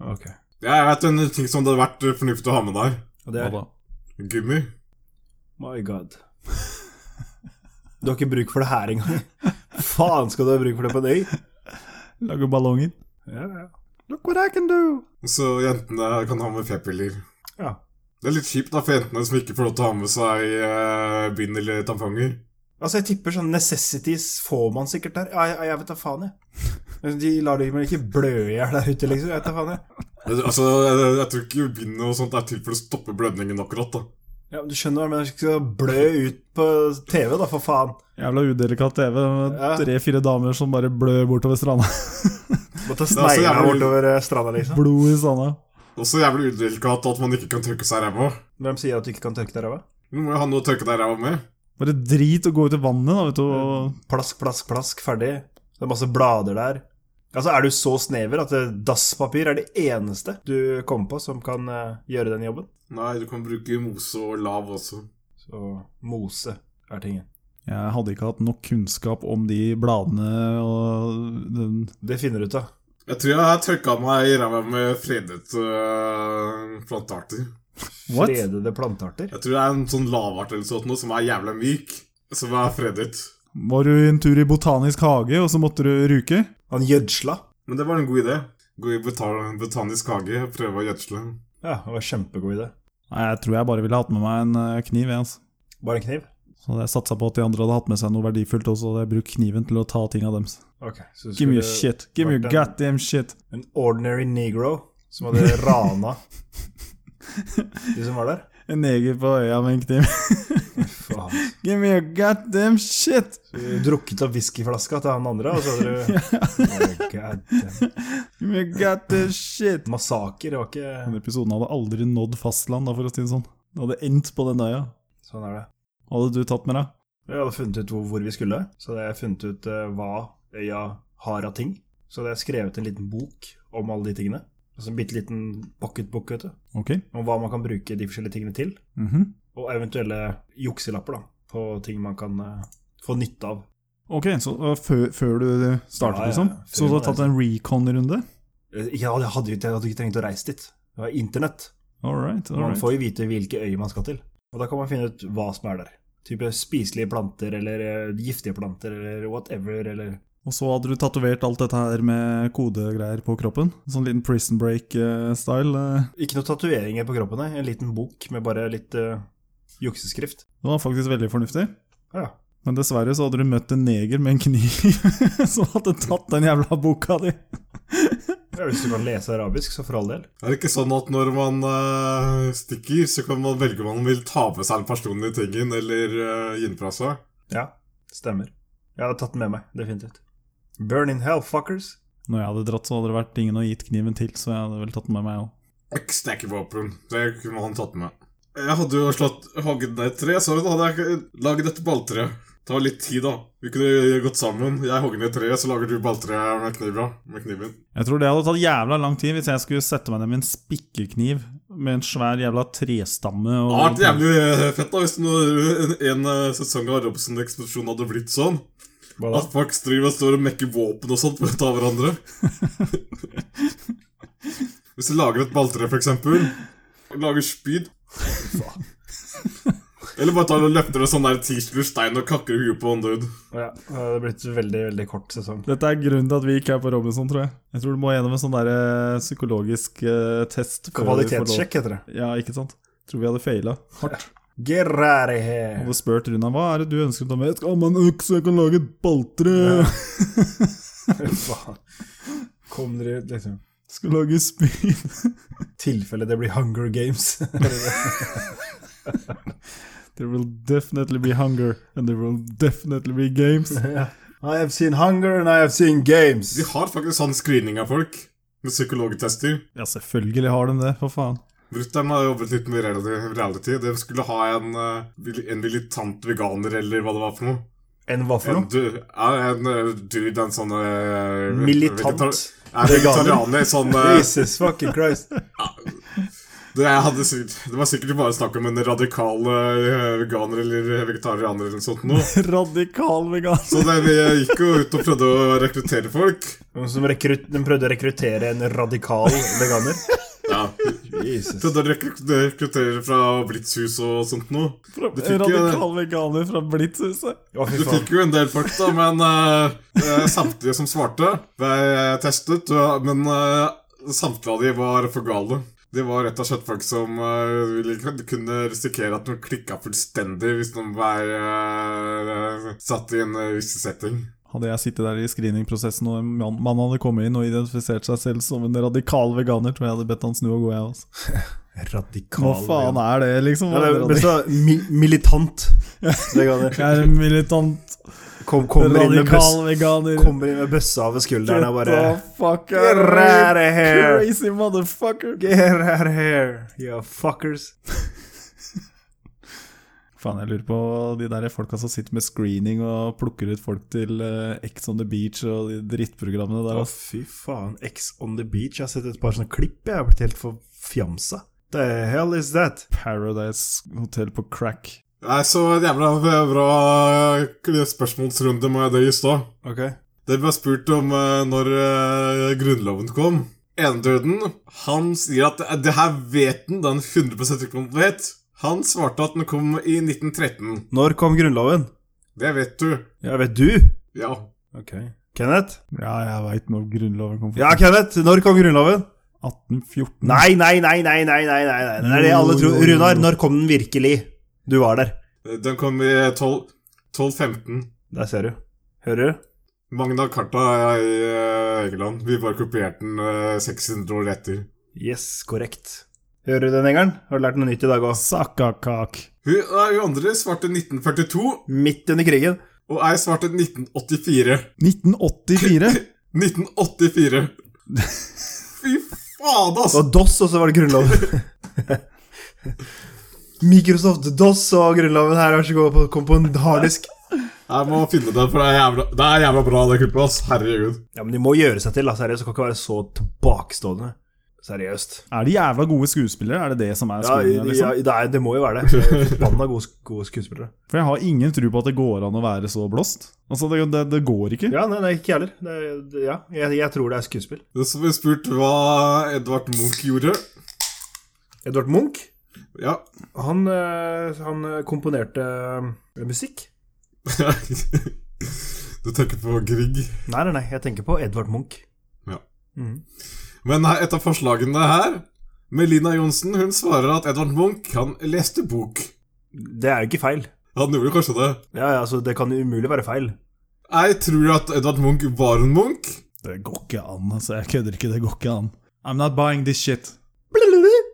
Speaker 2: Ok.
Speaker 3: Jeg vet en ting som det hadde vært eh, fornuftig å ha med der.
Speaker 2: Og det
Speaker 1: Hva
Speaker 2: er
Speaker 1: da?
Speaker 3: Gummi.
Speaker 2: My god. Du har ikke bruk for det her engang. Faen skal du ha bruk for det på en øy?
Speaker 1: Lage ballonger.
Speaker 2: Ja, ja.
Speaker 1: Look what I can do!
Speaker 3: Så jentene kan ha med p-piller.
Speaker 2: ja.
Speaker 3: Det er litt kjipt da for jentene som ikke får lov til å ha med seg eh, bind eller tamponger.
Speaker 2: Altså, jeg tipper sånne necessities får man sikkert der. Ja, jeg, jeg vet da faen, jeg. Men De lar dem vel ikke blø i hjel der ute, liksom. Jeg vet da faen, jeg.
Speaker 3: Altså, jeg, jeg tror ikke bind og sånt er til for å stoppe blødningen akkurat, da.
Speaker 2: Ja, men Du skjønner hva jeg mener, jeg skal ikke blø ut på TV, da, for faen.
Speaker 1: Jævla udelikat TV med
Speaker 2: Ja.
Speaker 1: tre-fire damer som bare blør bortover stranda.
Speaker 2: Må ta
Speaker 3: er så
Speaker 2: sneglene
Speaker 3: jævlig-
Speaker 2: bortover eh, stranda, liksom.
Speaker 1: Blod i sanda.
Speaker 3: Også jævlig udelikat at man ikke kan tørke seg i ræva.
Speaker 2: Hvem sier at du ikke kan tørke deg i ræva?
Speaker 3: Du må jo ha noe å tørke deg i ræva med.
Speaker 1: Bare drit å gå ut i vannet, da, vet du. Og
Speaker 2: Plask, plask, plask, ferdig. Det er masse blader der. Altså, Er du så snever at eh, dasspapir er det eneste du kommer på som kan eh, gjøre den jobben?
Speaker 3: Nei, du kan bruke mose og lav også.
Speaker 2: Så mose er tingen.
Speaker 1: jeg hadde ikke hatt nok kunnskap om de bladene og den
Speaker 2: Det finner du ut av.
Speaker 3: Jeg tror jeg har tørka meg i ræva med fredet øh, plantearter.
Speaker 1: What?
Speaker 2: Fredede plantearter.
Speaker 3: Jeg tror det er en sånn lavart eller sånt noe som er jævla myk, som er fredet.
Speaker 1: Var du en tur i botanisk hage, og så måtte du ruke?
Speaker 2: Han gjødsla.
Speaker 3: Men det var en god idé. Gå i botan botanisk hage og prøve å gjødsle.
Speaker 2: Ja, det var kjempegod idé.
Speaker 1: Nei, jeg tror jeg bare ville hatt med meg en eh, kniv, jeg, altså.
Speaker 2: Bare en kniv?
Speaker 1: Så hadde jeg satsa på at de andre hadde hatt med seg noe verdifullt også, og hadde jeg brukt kniven til å ta ting av dems.
Speaker 2: Ok, så det
Speaker 1: Give me your
Speaker 2: skulle
Speaker 1: shit. Give me your
Speaker 2: vært en-
Speaker 1: goddamn shit.
Speaker 2: En ordinary negro som hadde rana de som var der.
Speaker 1: En neger på øya med en kniv.
Speaker 2: Faen.
Speaker 1: Give me your goddamn shit!
Speaker 2: Du drukket av whiskyflaska til han andre, og så hadde du God damn.
Speaker 1: Give me your goddamn shit!
Speaker 2: Massaker, det var ikke
Speaker 1: Denne episoden hadde aldri nådd fastland, da, for å si det sånn. Det hadde endt på den øya.
Speaker 2: Sånn er det.
Speaker 1: Hva hadde du tatt med deg?
Speaker 2: Jeg hadde funnet ut hvor, hvor vi skulle, så hadde jeg funnet ut eh, hva øya har av ting. Så hadde jeg skrevet en liten bok om alle de tingene. Altså en bitte liten pocketbok, vet du.
Speaker 1: Ok.
Speaker 2: Om hva man kan bruke de forskjellige tingene til.
Speaker 1: Mhm.
Speaker 2: Og eventuelle jukselapper, da. På ting man kan eh, få nytte av.
Speaker 1: Ok, så uh, før, før du startet,
Speaker 2: Ja, ja,
Speaker 1: liksom?
Speaker 2: før
Speaker 1: Så du
Speaker 2: man
Speaker 1: har tatt en recon-runde?
Speaker 2: Eh, Ja, jeg hadde jo ikke, jeg hadde ikke trengt å reise dit. Det var internett.
Speaker 1: All right, all
Speaker 2: Man
Speaker 1: right.
Speaker 2: får jo vite hvilke øyer man skal til. Og da kan man finne ut hva som er der. Type spiselige planter, eller eh, giftige planter, eller whatever, eller
Speaker 1: Og så hadde du tatovert alt dette her med kodegreier på kroppen? Sånn liten prison eh, break-style?
Speaker 2: Ikke noen tatoveringer på kroppen, nei. En liten bok med bare litt eh, jukseskrift.
Speaker 1: Det var faktisk veldig fornuftig.
Speaker 2: Ja.
Speaker 1: Men dessverre så hadde du møtt en neger med en kniv som hadde tatt den jævla boka di.
Speaker 2: ja. Hvis du kan lese arabisk, så for all del.
Speaker 3: Er det ikke sånn at når man øh, stikker, så kan man velge om man vil ta med seg den personlige tingen eller øh, gi den fra seg?
Speaker 2: Ja, stemmer. Jeg hadde tatt den med meg, definitivt. Burn in hell, fuckers.
Speaker 1: Når jeg hadde dratt, så hadde det vært ingen å gitt kniven til, så jeg hadde vel tatt den med meg òg.
Speaker 3: Øks det er ikke våpen. Det kunne han tatt med. Jeg hadde jo slått hogd ned et tre, så da hadde jeg ikke- laget et balltre. Det tar litt tid, da. Vi kunne gått sammen. Jeg hogger ned treet, så lager du balltre med kniven. Med kniven.
Speaker 1: Jeg tror det hadde tatt jævla lang tid hvis jeg skulle sette meg ned med en spikkekniv med en svær jævla trestamme
Speaker 3: Det hadde vært
Speaker 1: og
Speaker 3: jævlig eh, fett da hvis noe- en, en eh, sesong av Robson-eksplosjonen hadde blitt sånn.
Speaker 2: Hva da?
Speaker 3: At folk driver og står og mekker våpen og sånt for å ta hverandre. Hvis du lager et balltre, for eksempel, og lager spyd Eller bare tar og løfter en sånn der tirsler stein og kakker i huet på en dude.
Speaker 2: Ja, det hadde blitt veldig, veldig kort sesong.
Speaker 1: Dette er grunnen til at vi ikke er på Robinson, tror jeg. Jeg tror du må gjennom en sånn der eh, psykologisk eh, test. før du får lov.
Speaker 2: Kvalitetssjekk heter det.
Speaker 1: Ja, ikke sant? Tror vi hadde feila. Hardt.
Speaker 2: Gerrari he.
Speaker 1: Hadde spurt Runa hva er det du ønsker å ta med. Skal man økse, jeg kan lage et baltre.
Speaker 2: Faen. Kom dere ut, liksom.
Speaker 1: Skal lage spyd.
Speaker 2: Tilfelle det blir Hunger Games.
Speaker 1: There will definitely be hunger, and there will definitely be games.
Speaker 2: I have seen hunger and I have seen games.
Speaker 3: De har faktisk sånn screening av folk med psykologtester.
Speaker 1: Ja, selvfølgelig har de det, for faen.
Speaker 3: Brutter'n har jobbet litt med reali- reality. De skulle ha en, eh, vil- en militant veganer eller hva det var for noe.
Speaker 2: En hva for
Speaker 3: En,
Speaker 2: noe?
Speaker 3: du, er en eh, dude, en sånn eh,
Speaker 2: Militant
Speaker 3: vegetar- Er vegetarianer, sånn eh,
Speaker 2: Jesus fucking Christ.
Speaker 3: Det, hadde sikkert, det var sikkert bare snakk om en radikal eh, veganer eller vegetarianer eller noe sånt noe.
Speaker 1: Radikal vegan.
Speaker 3: Så det, vi gikk jo ut og prøvde å rekruttere folk.
Speaker 2: Noen som rekrut, de prøvde å rekruttere en radikal veganer.
Speaker 3: Ja,
Speaker 2: Jesus.
Speaker 3: Prøvde å rekrut- rekruttere fra Blitzhus og sånt noe. Du fikk jo det.
Speaker 1: Radikal veganer fra Blitzhuset.
Speaker 2: Å, fy
Speaker 3: Du
Speaker 2: faen.
Speaker 3: fikk jo en del folk, da, men eh, eh, samtlige som svarte, ble eh, testet. og- Men eh, samtlige av de var for gale. De var rett og slett folk som eh, ville kun- kunne risikere at de klikka fullstendig hvis de var eh, eh, satt i en eh, viss setting.
Speaker 1: Hadde jeg sittet der i screeningprosessen og en mann, mann hadde kommet inn og identifisert seg selv som en radikal veganer, tror jeg hadde bedt han snu og gå, jeg også.
Speaker 2: Radikal
Speaker 1: Hva faen er det, liksom?
Speaker 2: Ja, det er best å være mi militant veganer.
Speaker 1: jeg er en militant,
Speaker 2: Kom, kommer, inn med
Speaker 1: radikal
Speaker 2: bøss,
Speaker 1: veganer.
Speaker 2: kommer inn med bøssa over skulderen og bare
Speaker 1: Get the fuck
Speaker 2: Get
Speaker 1: out of
Speaker 2: out of
Speaker 1: here,
Speaker 2: here!
Speaker 1: Crazy motherfucker.
Speaker 2: Get out of here, you fuckers!
Speaker 1: Faen, jeg lurer på de der folka som sitter med screening og plukker ut folk til eh, X on the beach og de drittprogrammene der.
Speaker 2: Å,
Speaker 1: ass.
Speaker 2: fy faen. X on the beach. Jeg har sett et par sånne klipp. Jeg har blitt helt forfjamsa. The hell is that?
Speaker 1: Paradise Hotel på crack.
Speaker 3: Jeg så en jævla bra spørsmålsrunde med det i stad.
Speaker 2: Ok.
Speaker 3: Det ble spurt om eh, når eh, Grunnloven kom. Enedøden han sier at eh, det her vet han, den 100 ikke om han vet. Han svarte at den kom i 1913.
Speaker 2: Når kom Grunnloven?
Speaker 3: Det vet du.
Speaker 2: Ja, vet du?
Speaker 3: Ja.
Speaker 2: Ok. Kenneth?
Speaker 1: Ja, jeg veit når Grunnloven kom.
Speaker 2: Ja, Kenneth, når kom Grunnloven?
Speaker 1: 1814.
Speaker 2: Nei, nei, nei, nei, nei, nei, nei, nei. Det er det
Speaker 1: Jo,
Speaker 2: alle tror.
Speaker 1: jo, jo.
Speaker 2: Runar, når kom den virkelig? Du var der.
Speaker 3: Den kom i 12 1215.
Speaker 2: Der ser du. Hører du?
Speaker 3: Magna Carta er i eh, England. Vi bare kopierte den eh, 600 år etter.
Speaker 2: Yes, korrekt. Hører du den, Engelen? Har du lært noe nytt i dag òg?
Speaker 1: Sakakak.
Speaker 3: Hun, nei, hun andre svarte 1942,
Speaker 2: Midt under krigen.
Speaker 3: og jeg svarte 1984.
Speaker 1: 1984.
Speaker 3: 1984. Fy faen,
Speaker 2: Det
Speaker 3: altså!
Speaker 2: var DOS, og så var det Grunnloven. Microsoft DOS og Grunnloven her, vær så god, på- kom på en harddisk.
Speaker 3: Jeg må finne det, for det er jævla, det er jævla bra, det klippet. ass. Herregud.
Speaker 2: Ja, men de må gjøre seg til, da. Seriøst, det kan ikke være så tilbakestående. Seriøst.
Speaker 1: Er de jævla gode skuespillere? Er det det som er
Speaker 2: Ja,
Speaker 1: skolen?
Speaker 2: i- ja
Speaker 1: liksom?
Speaker 2: i- det, er, det må jo være det. det. er Forbanna gode, sk- gode skuespillere.
Speaker 1: For jeg har ingen tro på at det går an å være så blåst. Altså, det, det, det går ikke.
Speaker 2: Ja, nei, nei ikke jeg heller. Det, er- det, ja, jeg, jeg tror det er skuespill.
Speaker 3: Det som ble spurt hva Edvard Munch gjorde.
Speaker 2: Edvard Munch,
Speaker 3: Ja.
Speaker 2: han, eh, han eh, komponerte eh, musikk.
Speaker 3: du tenker på Grieg.
Speaker 2: Nei, nei, nei, jeg tenker på Edvard Munch.
Speaker 3: Ja.
Speaker 2: Mhm.
Speaker 3: Men her- et av forslagene her Melina Johnsen hun svarer at Edvard Munch han leste bok.
Speaker 2: Det er jo ikke feil.
Speaker 3: Han gjorde kanskje det.
Speaker 2: Ja, ja, altså, Det kan jo umulig være feil.
Speaker 3: Jeg tror at Edvard Munch var en Munch.
Speaker 1: Det går ikke an, altså. Jeg kødder ikke. Det går ikke an. I'm not buying this shit.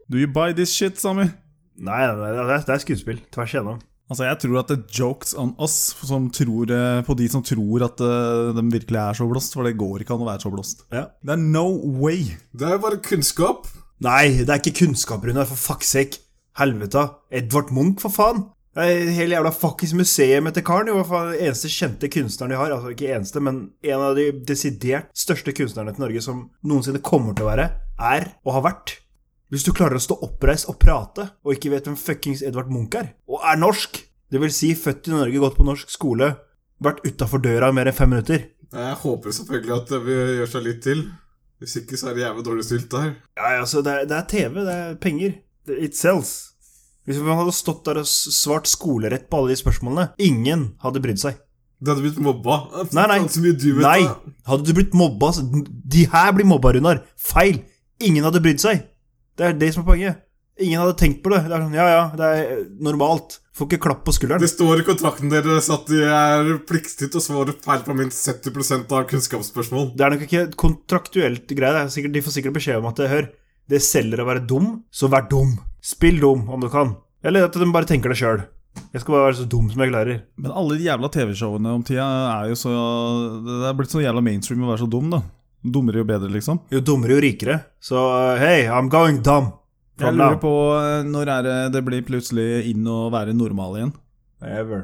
Speaker 1: Do you buy this shit, Sammy?
Speaker 2: Nei, nei, nei det, er, det er skuespill. Tvers igjennom.
Speaker 1: Altså, jeg tror at det er jokes on us som tror, eh, på de som tror at eh, de virkelig er så blåst, for det går ikke an å være så blåst.
Speaker 2: Ja.
Speaker 1: Det er no way!
Speaker 3: Det er jo bare kunnskap.
Speaker 2: Nei, det er ikke kunnskap, Runar, for fuck's sake. Helvete. Edvard Munch, for faen. Det er hele jævla fuckings museum etter karen. Jo, hva faen, den eneste kjente kunstneren de har. Altså ikke eneste, men en av de desidert største kunstnerne til Norge som noensinne kommer til å være, er og har vært. Hvis du klarer å stå oppreist og prate, og ikke vet hvem fuckings Edvard Munch er, og er norsk, det vil si født i Norge, gått på norsk skole, vært utafor døra i mer enn fem minutter
Speaker 3: Jeg håper selvfølgelig at det vil gjøre seg litt til. Hvis ikke, så er det jævlig dårlig stilt der.
Speaker 2: Ja, ja, altså, det er, det er TV, det er penger. Det- It sells. Hvis man hadde stått der og s- svart skolerett på alle de spørsmålene, ingen hadde brydd seg.
Speaker 3: Det hadde blitt mobba.
Speaker 2: Nei, nei.
Speaker 3: Faen, Så mye du vet,
Speaker 2: Nei!
Speaker 3: da.
Speaker 2: Hadde du blitt mobba så- De her blir mobba, Runar. Feil! Ingen hadde brydd seg. Det er det som er poenget. Ingen hadde tenkt på det. Det er sånn, ja, ja, det er eh, normalt. Får ikke klapp på
Speaker 3: Det
Speaker 2: skulderen.
Speaker 3: står i kontrakten deres at de er pliktig til å svare feil på minst 70 av kunnskapsspørsmål.
Speaker 2: Det er nok ikke et kontraktuelt greie. Det er sikkert, de får sikkert beskjed om at eh, hør, det selger å være dum, så vær dum. Spill dum om du kan. Eller at de bare tenker det sjøl. Jeg skal bare være så dum som jeg klarer.
Speaker 1: Men alle de jævla TV-showene om tida er jo så Det er blitt så jævla mainstream å være så dum, da. Dummere jo bedre, liksom.
Speaker 2: Jo dummere, jo rikere. Så uh, hey, I'm going dumb.
Speaker 1: Jeg
Speaker 2: From
Speaker 1: lurer
Speaker 2: now.
Speaker 1: på eh, når er det det blir plutselig inn å være normal igjen?
Speaker 2: Ever.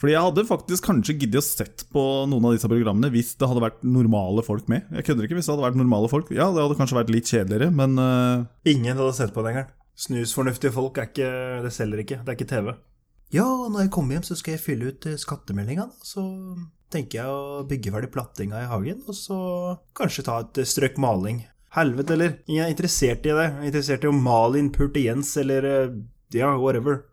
Speaker 1: Fordi jeg hadde faktisk kanskje giddet å sett på noen av disse programmene hvis det hadde vært normale folk med. Jeg kødder ikke hvis det hadde vært normale folk. Ja, det hadde kanskje vært litt kjedeligere, men eh,
Speaker 2: Ingen hadde sett på den engang. Snusfornuftige folk er ikke Det selger ikke. Det er ikke TV.
Speaker 4: Ja, og når jeg kommer hjem, så skal jeg fylle ut eh, skattemeldinga. da. Så tenker jeg å bygge ferdig plattinga i hagen, og så
Speaker 2: Kanskje ta et eh, strøk maling. Helvete, eller? Ingen er interessert i det. Jeg er Interessert i å male inn Jens, eller eh, Ja, whatever.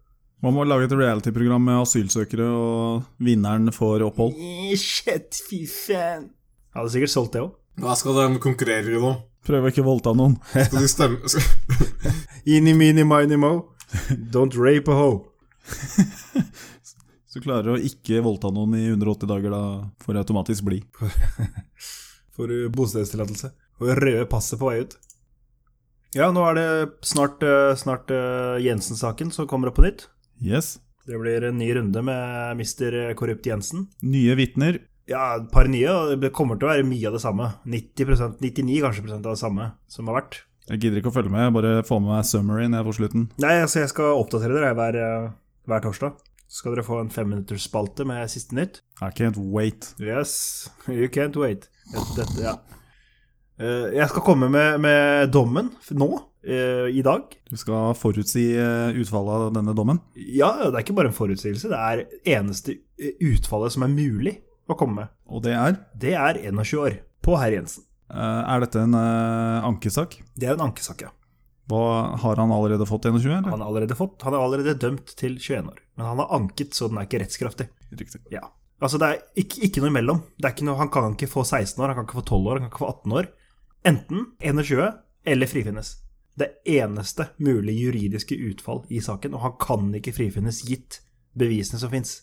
Speaker 1: man må lage et reality-program med asylsøkere, og vinneren får opphold.
Speaker 2: Eh, Shit, fy faen. Jeg hadde sikkert solgt det òg.
Speaker 3: Hva skal de konkurrere i nå?
Speaker 1: Prøve å ikke voldta noen.
Speaker 3: Skal de stemme skal-
Speaker 2: Inni mini mini mo. Don't rape a hoe.
Speaker 1: Hvis du klarer å ikke voldta noen i 180 dager, da får du automatisk bli.
Speaker 2: Får du eh, bostedstillatelse. Og røde passet på vei ut. Ja, nå er det snart, eh, snart eh, Jensen-saken som kommer opp på nytt.
Speaker 1: Yes.
Speaker 2: Det blir en ny runde med Mr. Korrupt Jensen.
Speaker 1: Nye vitner.
Speaker 2: Ja, et par nye, og det kommer til å være mye av det samme. 90 99 kanskje prosent av det samme som har vært.
Speaker 1: Jeg gidder ikke å følge med, jeg bare får med meg summaryen jeg på slutten.
Speaker 2: Nei, altså jeg skal oppdatere dere hver, eh, hver torsdag. Så skal dere få en femminuttersspalte med siste nytt.
Speaker 1: I can't wait.
Speaker 2: Yes, you can't wait. Dette, dette, ja. Eh, jeg skal komme med, med dommen f- nå, eh, i dag.
Speaker 1: Du skal forutsi eh, utfallet av denne dommen.
Speaker 2: Ja, det er ikke bare en forutsigelse, det er eneste eh, utfallet som er mulig å komme med.
Speaker 1: Og det er
Speaker 2: Det er 21 år på herr Jensen.
Speaker 1: eh, Er dette en eh, ankesak?
Speaker 2: Det er en ankesak, ja.
Speaker 1: Hva, har han allerede fått 21? Eller?
Speaker 2: Han er allerede fått, han er allerede dømt til 21 år. Men han har anket, så den er ikke rettskraftig.
Speaker 1: Riktig.
Speaker 2: Ja. Altså, det er ikke, ikke noe imellom. Det er ikke noe, han kan ikke få 16 år, han kan ikke få 12 år, han kan ikke få 18 år. Enten 21 eller frifinnes. Det er eneste mulige juridiske utfall i saken, og han kan ikke frifinnes gitt bevisene som fins.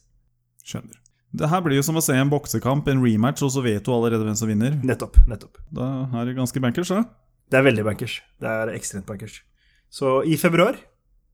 Speaker 1: Skjønner. Det her blir jo som å se en boksekamp, en rematch, og så vet du allerede hvem som vinner.
Speaker 2: Nettopp. Nettopp.
Speaker 1: Da er det ganske bankers, da.
Speaker 2: Det er veldig bankers. Det er ekstremt bankers. Så i februar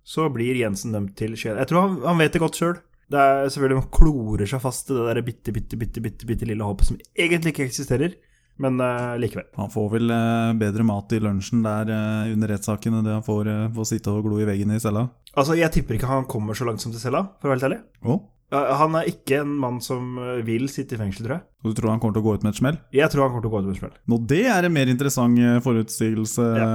Speaker 2: så blir Jensen dømt til 21 Jeg tror han, han vet det godt sjøl. Det er selvfølgelig Han klorer seg fast i det der bitte, bitte, bitte, bitte, bitte lille håpet som egentlig ikke eksisterer, men eh, likevel.
Speaker 1: Han får vel eh, bedre mat i lunsjen der eh, under rettssaken enn det han får eh, for å sitte og glo i veggen i cella.
Speaker 2: Altså, jeg tipper ikke han kommer så langt som til cella, for å være helt ærlig.
Speaker 1: Å?
Speaker 2: Eh, Han er ikke en mann som eh, vil sitte i fengsel, tror jeg.
Speaker 1: Og du tror han kommer til å gå ut med et smell?
Speaker 2: Jeg tror han kommer til å gå ut med et smell.
Speaker 1: Nå, det er en mer interessant eh, forutsigelse.
Speaker 2: Ja.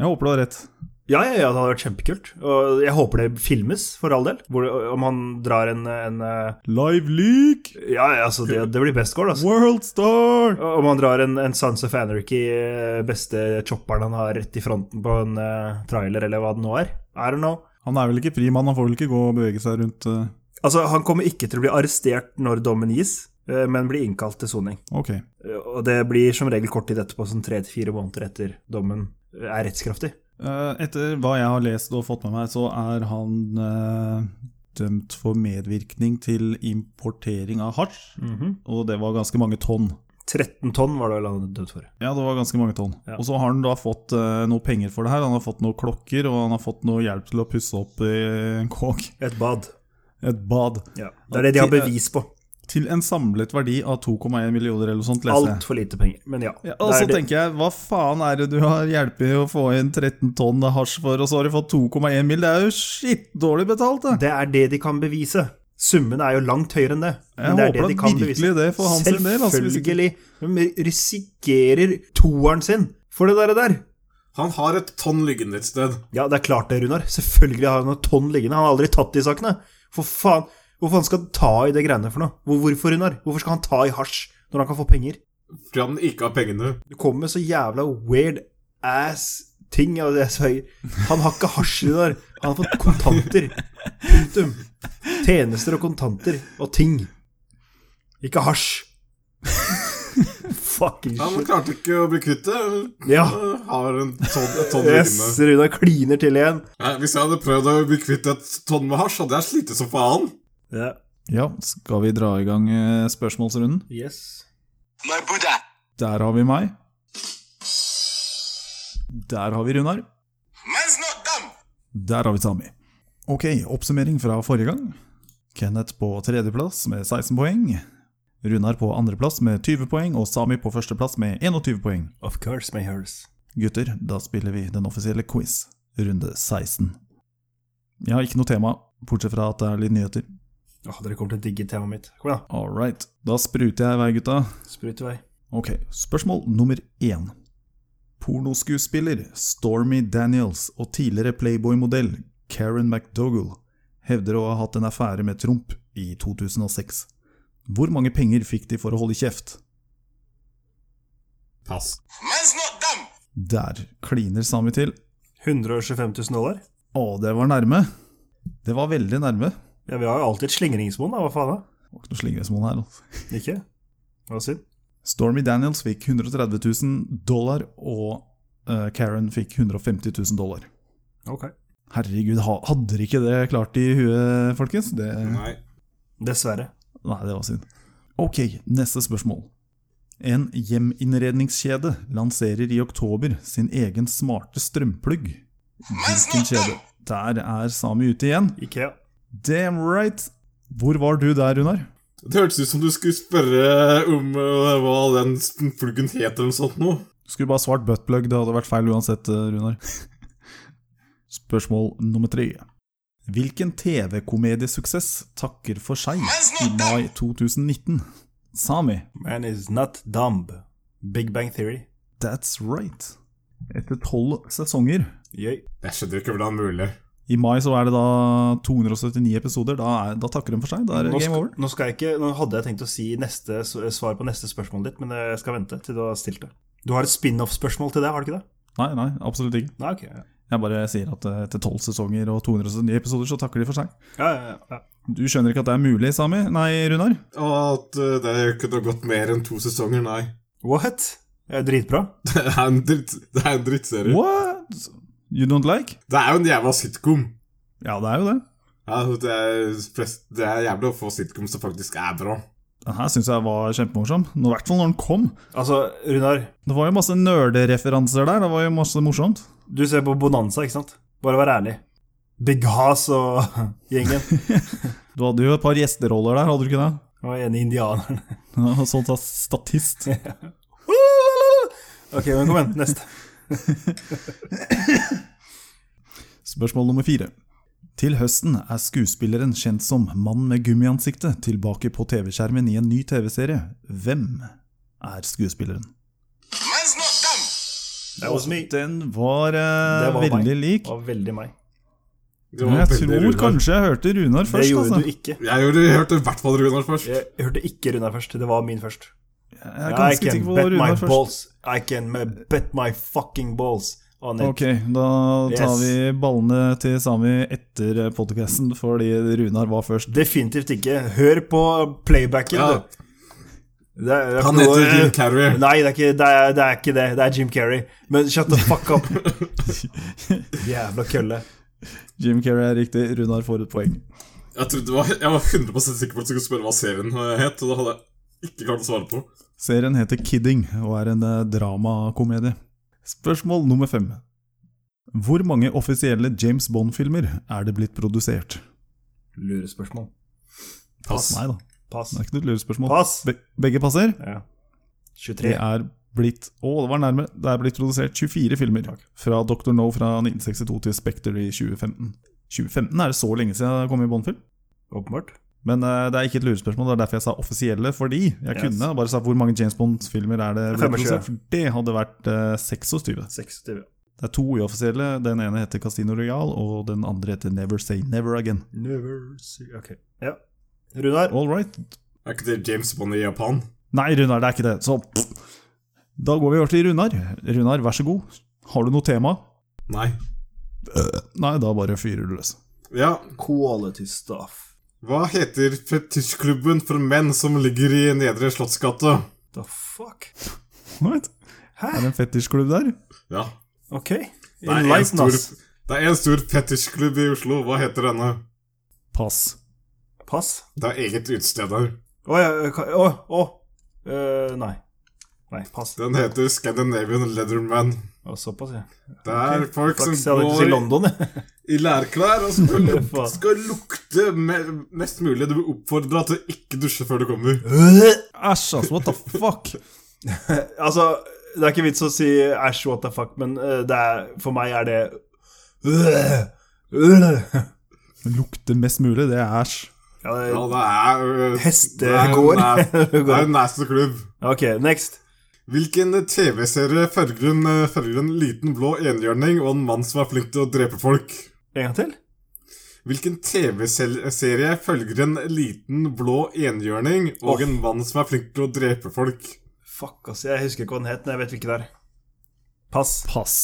Speaker 1: Jeg håper du har rett.
Speaker 2: Ja, ja, ja, det hadde vært kjempekult. Og jeg håper det filmes, for all del. Hvor, om han drar en, en eh,
Speaker 1: Live leak!
Speaker 2: Ja, ja, altså, det, det blir best goal, altså.
Speaker 1: Worldstar!
Speaker 2: Om han drar en, en Sons of Anarchy, eh, beste chopperen han har rett i fronten på en eh, trailer, eller hva det nå er. I don't know.
Speaker 1: Han er vel ikke fri mann, han får vel ikke gå og bevege seg rundt eh,
Speaker 2: Altså, han kommer ikke til å bli arrestert når dommen gis, eh, men blir innkalt til soning.
Speaker 1: Ok.
Speaker 2: Eh, Og det blir som regel kort tid etterpå, sånn tre til fire måneder etter dommen eh, er rettskraftig.
Speaker 1: Eh, Etter hva jeg har lest og fått med meg, så er han eh, dømt for medvirkning til importering av hasj, og det var ganske mange tonn.
Speaker 2: 13 tonn var det vel han dømt for.
Speaker 1: Ja, det var ganske mange tonn.
Speaker 2: Ja.
Speaker 1: Og så har han da fått eh, noe penger for det her. Han har fått noen klokker, og han har fått noe hjelp til å pusse opp i en kåk.
Speaker 2: Et bad.
Speaker 1: Et bad.
Speaker 2: Ja. Det er det de har bevis på.
Speaker 1: Til en samlet verdi av 2,1 millioner eller noe sånt, leser jeg.
Speaker 2: Altfor lite penger, men ja.
Speaker 1: Ja, og så
Speaker 2: det er det.
Speaker 1: tenker jeg, hva faen er det du har hjulpet å få inn 13 tonn hasj for, og så har du fått 2,1 mill. Det er jo skittdårlig betalt, det.
Speaker 2: det er det de kan bevise. Summene er jo langt høyere enn det.
Speaker 1: Jeg
Speaker 2: Men det er
Speaker 1: håper
Speaker 2: det de
Speaker 1: da
Speaker 2: kan
Speaker 1: virkelig
Speaker 2: bevise.
Speaker 1: det for hans del, altså, hvis ikke-
Speaker 2: Selvfølgelig. De risikerer toeren sin for det der. der.
Speaker 3: Han har et tonn liggende et sted.
Speaker 2: Ja, det er klart det, Runar. Selvfølgelig har han noen tonn liggende. Han har aldri tatt de sakene. For faen. Hvorfor han skal ta i det greiene for noe? Hvor- Hvorfor, Runar? Hvorfor skal han ta i hasj når han kan få penger?
Speaker 3: Fordi han ikke har pengene.
Speaker 2: Du kommer med så jævla weird ass ting av det jeg sverger. Han har ikke hasj i det der. Han har fått kontanter. Punktum. Tjenester og kontanter og ting. Ikke hasj. Fucking
Speaker 3: Han
Speaker 2: shit.
Speaker 3: klarte ikke å bli kvitt det.
Speaker 2: Ja.
Speaker 3: Han eh, Har en tonn, et tonn
Speaker 2: Yes,
Speaker 3: liggende.
Speaker 2: Runar kliner til igjen.
Speaker 3: Nei, hvis jeg hadde prøvd å bli kvitt et tonn med hasj, hadde jeg slitt som faen.
Speaker 2: Ja.
Speaker 1: Ja, skal vi dra i gang eh, spørsmålsrunden?
Speaker 2: Yes.
Speaker 5: My Buddha.
Speaker 1: Der har vi meg. Der har vi Runar.
Speaker 5: Man's not dumb.
Speaker 1: Der har vi Sami. Ok, oppsummering fra forrige gang. Kenneth på tredjeplass med 16 poeng. Runar på andreplass med 20 poeng, og Sami på førsteplass med 21 poeng.
Speaker 2: Of course, my hers.
Speaker 1: Gutter, da spiller vi den offisielle quiz, runde 16. Jeg har ikke noe tema, bortsett fra at det er litt nyheter.
Speaker 2: Åh, dere kommer til å digge temaet mitt. Kom igjen,
Speaker 1: All right. Da spruter jeg i vei, gutta.
Speaker 2: da. Sprut i vei.
Speaker 1: Ok, spørsmål nummer én. Pornoskuespiller Stormy Daniels og tidligere Playboy-modell Karen McDougall hevder å ha hatt en affære med Trump i 2006. Hvor mange penger fikk de for å holde kjeft?
Speaker 3: Pass.
Speaker 5: Man's not dumb.
Speaker 1: Der kliner Sami til.
Speaker 2: 125 000 dollar?
Speaker 1: Å, det var nærme. Det var veldig nærme.
Speaker 2: Ja, vi har jo alltid et slingringsmonn, da. Hva faen, da?
Speaker 1: Det var ikke noe slingresmonn her, altså.
Speaker 2: Ikke? Det var synd.
Speaker 1: Stormy Daniels fikk 130 000 dollar, og eh, Karen fikk 150 000 dollar.
Speaker 2: Ok.
Speaker 1: Herregud, ha- hadde dere ikke det klart i huet, folkens? Det, nei.
Speaker 3: Nei.
Speaker 2: Dessverre.
Speaker 1: det var synd. Ok, neste spørsmål. En hjeminnredningskjede lanserer i oktober sin egen smarte strømplugg.
Speaker 5: Man's
Speaker 1: Hvilken
Speaker 5: not
Speaker 1: kjede?
Speaker 5: dumb.
Speaker 1: Der er Sami ute igjen.
Speaker 2: Ikea.
Speaker 1: Damn right! Hvor var du der, Runar?
Speaker 3: Det hørtes ut som du skulle spørre om eh, hva den sp- pluggen het eller noe sånt noe.
Speaker 1: Skulle bare svart buttplug, det hadde vært feil uansett, eh, Runar. Spørsmål nummer tre. Hvilken TV-komediesuksess takker for seg i mai 2019? Sami,
Speaker 2: Man is not dumb. Big Bang Theory.
Speaker 1: that's right. Etter tolv sesonger.
Speaker 2: Yay.
Speaker 3: Jeg skjønner ikke hvordan det er mulig.
Speaker 1: I mai så er det da 279 episoder. Da, er, da takker de for seg. Da er det
Speaker 2: Nå
Speaker 1: game
Speaker 2: skal,
Speaker 1: over.
Speaker 2: nå skal jeg ikke Nå hadde jeg tenkt å si neste s- svar på neste spørsmål ditt, men jeg skal vente til du har stilt det. Du har et spin-off-spørsmål til det, har du ikke det?
Speaker 1: Nei, nei, absolutt ikke.
Speaker 2: Nei, ok. Ja,
Speaker 1: Jeg bare sier at eh, etter tolv sesonger og 279 episoder så takker de for seg.
Speaker 2: ja, ja. ja.
Speaker 1: Du skjønner ikke at det er mulig, Sami? Nei, Runar?
Speaker 3: Og at eh, det kunne ha gått mer enn to sesonger, nei.
Speaker 2: What? Det er dritbra.
Speaker 3: Det er en dritt- det er en drittserie.
Speaker 1: What? You don't like?
Speaker 3: det er jo en jævla sitcom.
Speaker 1: Ja, det er jo det.
Speaker 3: Ja, det er, flest- det er jævlig å få sitcoms som faktisk er bra.
Speaker 1: Den her syns jeg var kjempemorsom. Nå- I hvert fall når den kom.
Speaker 2: Altså, Runar,
Speaker 1: Det var jo masse nerdereferanser der. Det var jo masse morsomt.
Speaker 2: du ser på Bonanza, ikke sant? Bare vær ærlig. Big Has og gjengen.
Speaker 1: Du hadde jo et par gjesteroller der, hadde du ikke det?
Speaker 2: Jeg var enig i indianeren.
Speaker 1: Ja, Sånn sa statist.
Speaker 2: Uh! Ok, men kom igjen. Neste.
Speaker 1: Spørsmål nummer fire. Til høsten er skuespilleren kjent som Mann med gummiansiktet tilbake på TV-skjermen i en ny TV-serie. Hvem er skuespilleren?
Speaker 5: Man's not dumb.
Speaker 2: That was me. Det
Speaker 1: Den var, eh,
Speaker 2: Det var meg.
Speaker 1: veldig lik.
Speaker 2: var veldig meg.
Speaker 3: Det
Speaker 1: Men
Speaker 3: var
Speaker 1: jeg
Speaker 3: veldig
Speaker 1: tror
Speaker 3: Runar.
Speaker 1: kanskje jeg hørte Runar
Speaker 2: Det
Speaker 1: først.
Speaker 2: gjorde
Speaker 1: Altså.
Speaker 2: du ikke.
Speaker 3: Jeg gjorde, jeg hørte i hvert fall Runar først.
Speaker 2: Jeg hørte ikke Runar først. Det var min først.
Speaker 1: Jeg er ganske sikker på Runar først.
Speaker 2: balls. I can ma- bet my fucking balls on it.
Speaker 1: Ok, da tar
Speaker 2: Yes.
Speaker 1: vi ballene til Sami etter podcasten, fordi Runar var først.
Speaker 2: Definitivt ikke. Hør på playbacken,
Speaker 3: Ja,
Speaker 2: du. Det er, det er
Speaker 3: han
Speaker 2: ikke noe-
Speaker 3: heter Jim Carrey.
Speaker 2: Nei, det er, ikke, det, er, det er ikke det. Det er Jim Carrey. Men shut the fuck up. Jævla kølle.
Speaker 1: Jim Carrey er riktig, Runar får et poeng.
Speaker 3: Jeg, trodde, det var- jeg var 100 sikker på at du skulle spørre hva serien het, og det hadde jeg ikke klart å svare på.
Speaker 1: Serien heter Kidding og er en eh, dramakomedie. Spørsmål nummer fem. Hvor mange offisielle James Bond-filmer er det blitt produsert?
Speaker 2: Lurespørsmål.
Speaker 3: Pass.
Speaker 1: Nei da,
Speaker 2: Pass.
Speaker 1: det er ikke noe lurespørsmål.
Speaker 2: Pass.
Speaker 1: Be begge passer?
Speaker 2: Ja.
Speaker 1: Det
Speaker 2: 23.
Speaker 1: er blitt Å, det var nærme. Det er blitt produsert 24 filmer. Fra Dr. No fra 1962 til Spekter i 2015. 2015 er det så lenge siden jeg kom i Bond-film?
Speaker 2: Åpenbart.
Speaker 1: Men eh, det er ikke et lurespørsmål, det er derfor jeg sa offisielle. Fordi jeg
Speaker 2: Yes.
Speaker 1: kunne bare sagt hvor mange James Bond-filmer er det blitt
Speaker 2: 25.
Speaker 1: produsert. For det hadde vært eh, 26.
Speaker 2: 26.
Speaker 1: Det er to uoffisielle. Den ene heter Casino Royal, og den andre heter Never Say Never Again.
Speaker 2: Never see Ok. Ja. Runar.
Speaker 1: All right.
Speaker 3: Er ikke det James Bond i Japan?
Speaker 1: Nei, Runar, det er ikke det. Så pff. da går vi over til Runar. Runar, vær så god. Har du noe tema?
Speaker 3: Nei.
Speaker 1: Nei, da bare fyrer du løs.
Speaker 3: Ja,
Speaker 2: Quality stuff.
Speaker 3: hva heter fetisjklubben for menn som ligger i Nedre Slottsgate?
Speaker 2: The fuck?
Speaker 1: What?
Speaker 2: Hæ?
Speaker 1: Er det en fetisjklubb der?
Speaker 3: Ja.
Speaker 2: Ok.
Speaker 3: Det er en
Speaker 2: Enlighten
Speaker 3: stor,
Speaker 2: us.
Speaker 3: det er en stor fetisjklubb i Oslo. Hva heter denne?
Speaker 1: Pass.
Speaker 2: Pass.
Speaker 3: Det er eget utested her.
Speaker 2: Å ja. ka- Å. å. Eh, nei. Nei, pass.
Speaker 3: Den heter Scandinavian Leatherman.
Speaker 2: Å, såpass, ja.
Speaker 3: Det er folk
Speaker 2: Flaks jeg
Speaker 3: som
Speaker 2: hadde ikke
Speaker 3: går
Speaker 2: til London, jeg.
Speaker 3: i lærklær og skal, luk
Speaker 2: Faen.
Speaker 3: skal lukte me mest mulig. Du blir oppfordra til å ikke dusje før du kommer.
Speaker 1: Æsj, ass, what the fuck?
Speaker 2: Altså, det er ikke vits å si æsj, what the fuck, men eh, det er, for meg er det Øh, øh.
Speaker 1: Lukte mest mulig, det er æsj.
Speaker 2: Ja, det-
Speaker 3: Ja, det er øh,
Speaker 2: Hestegård.
Speaker 3: Det er en nas- det er en nasty klubb.
Speaker 2: Ok, next.
Speaker 3: Hvilken TV-serie farger en, øh, farger en liten blå enhjørning og en mann som er flink til å drepe folk?
Speaker 2: En gang til.
Speaker 3: Hvilken TV-serie følger en liten blå enhjørning og en mann som er flink til å drepe folk?
Speaker 2: Fuck, ass. Jeg husker ikke hva den het, men jeg vet hvilken det er. Pass.
Speaker 1: Pass.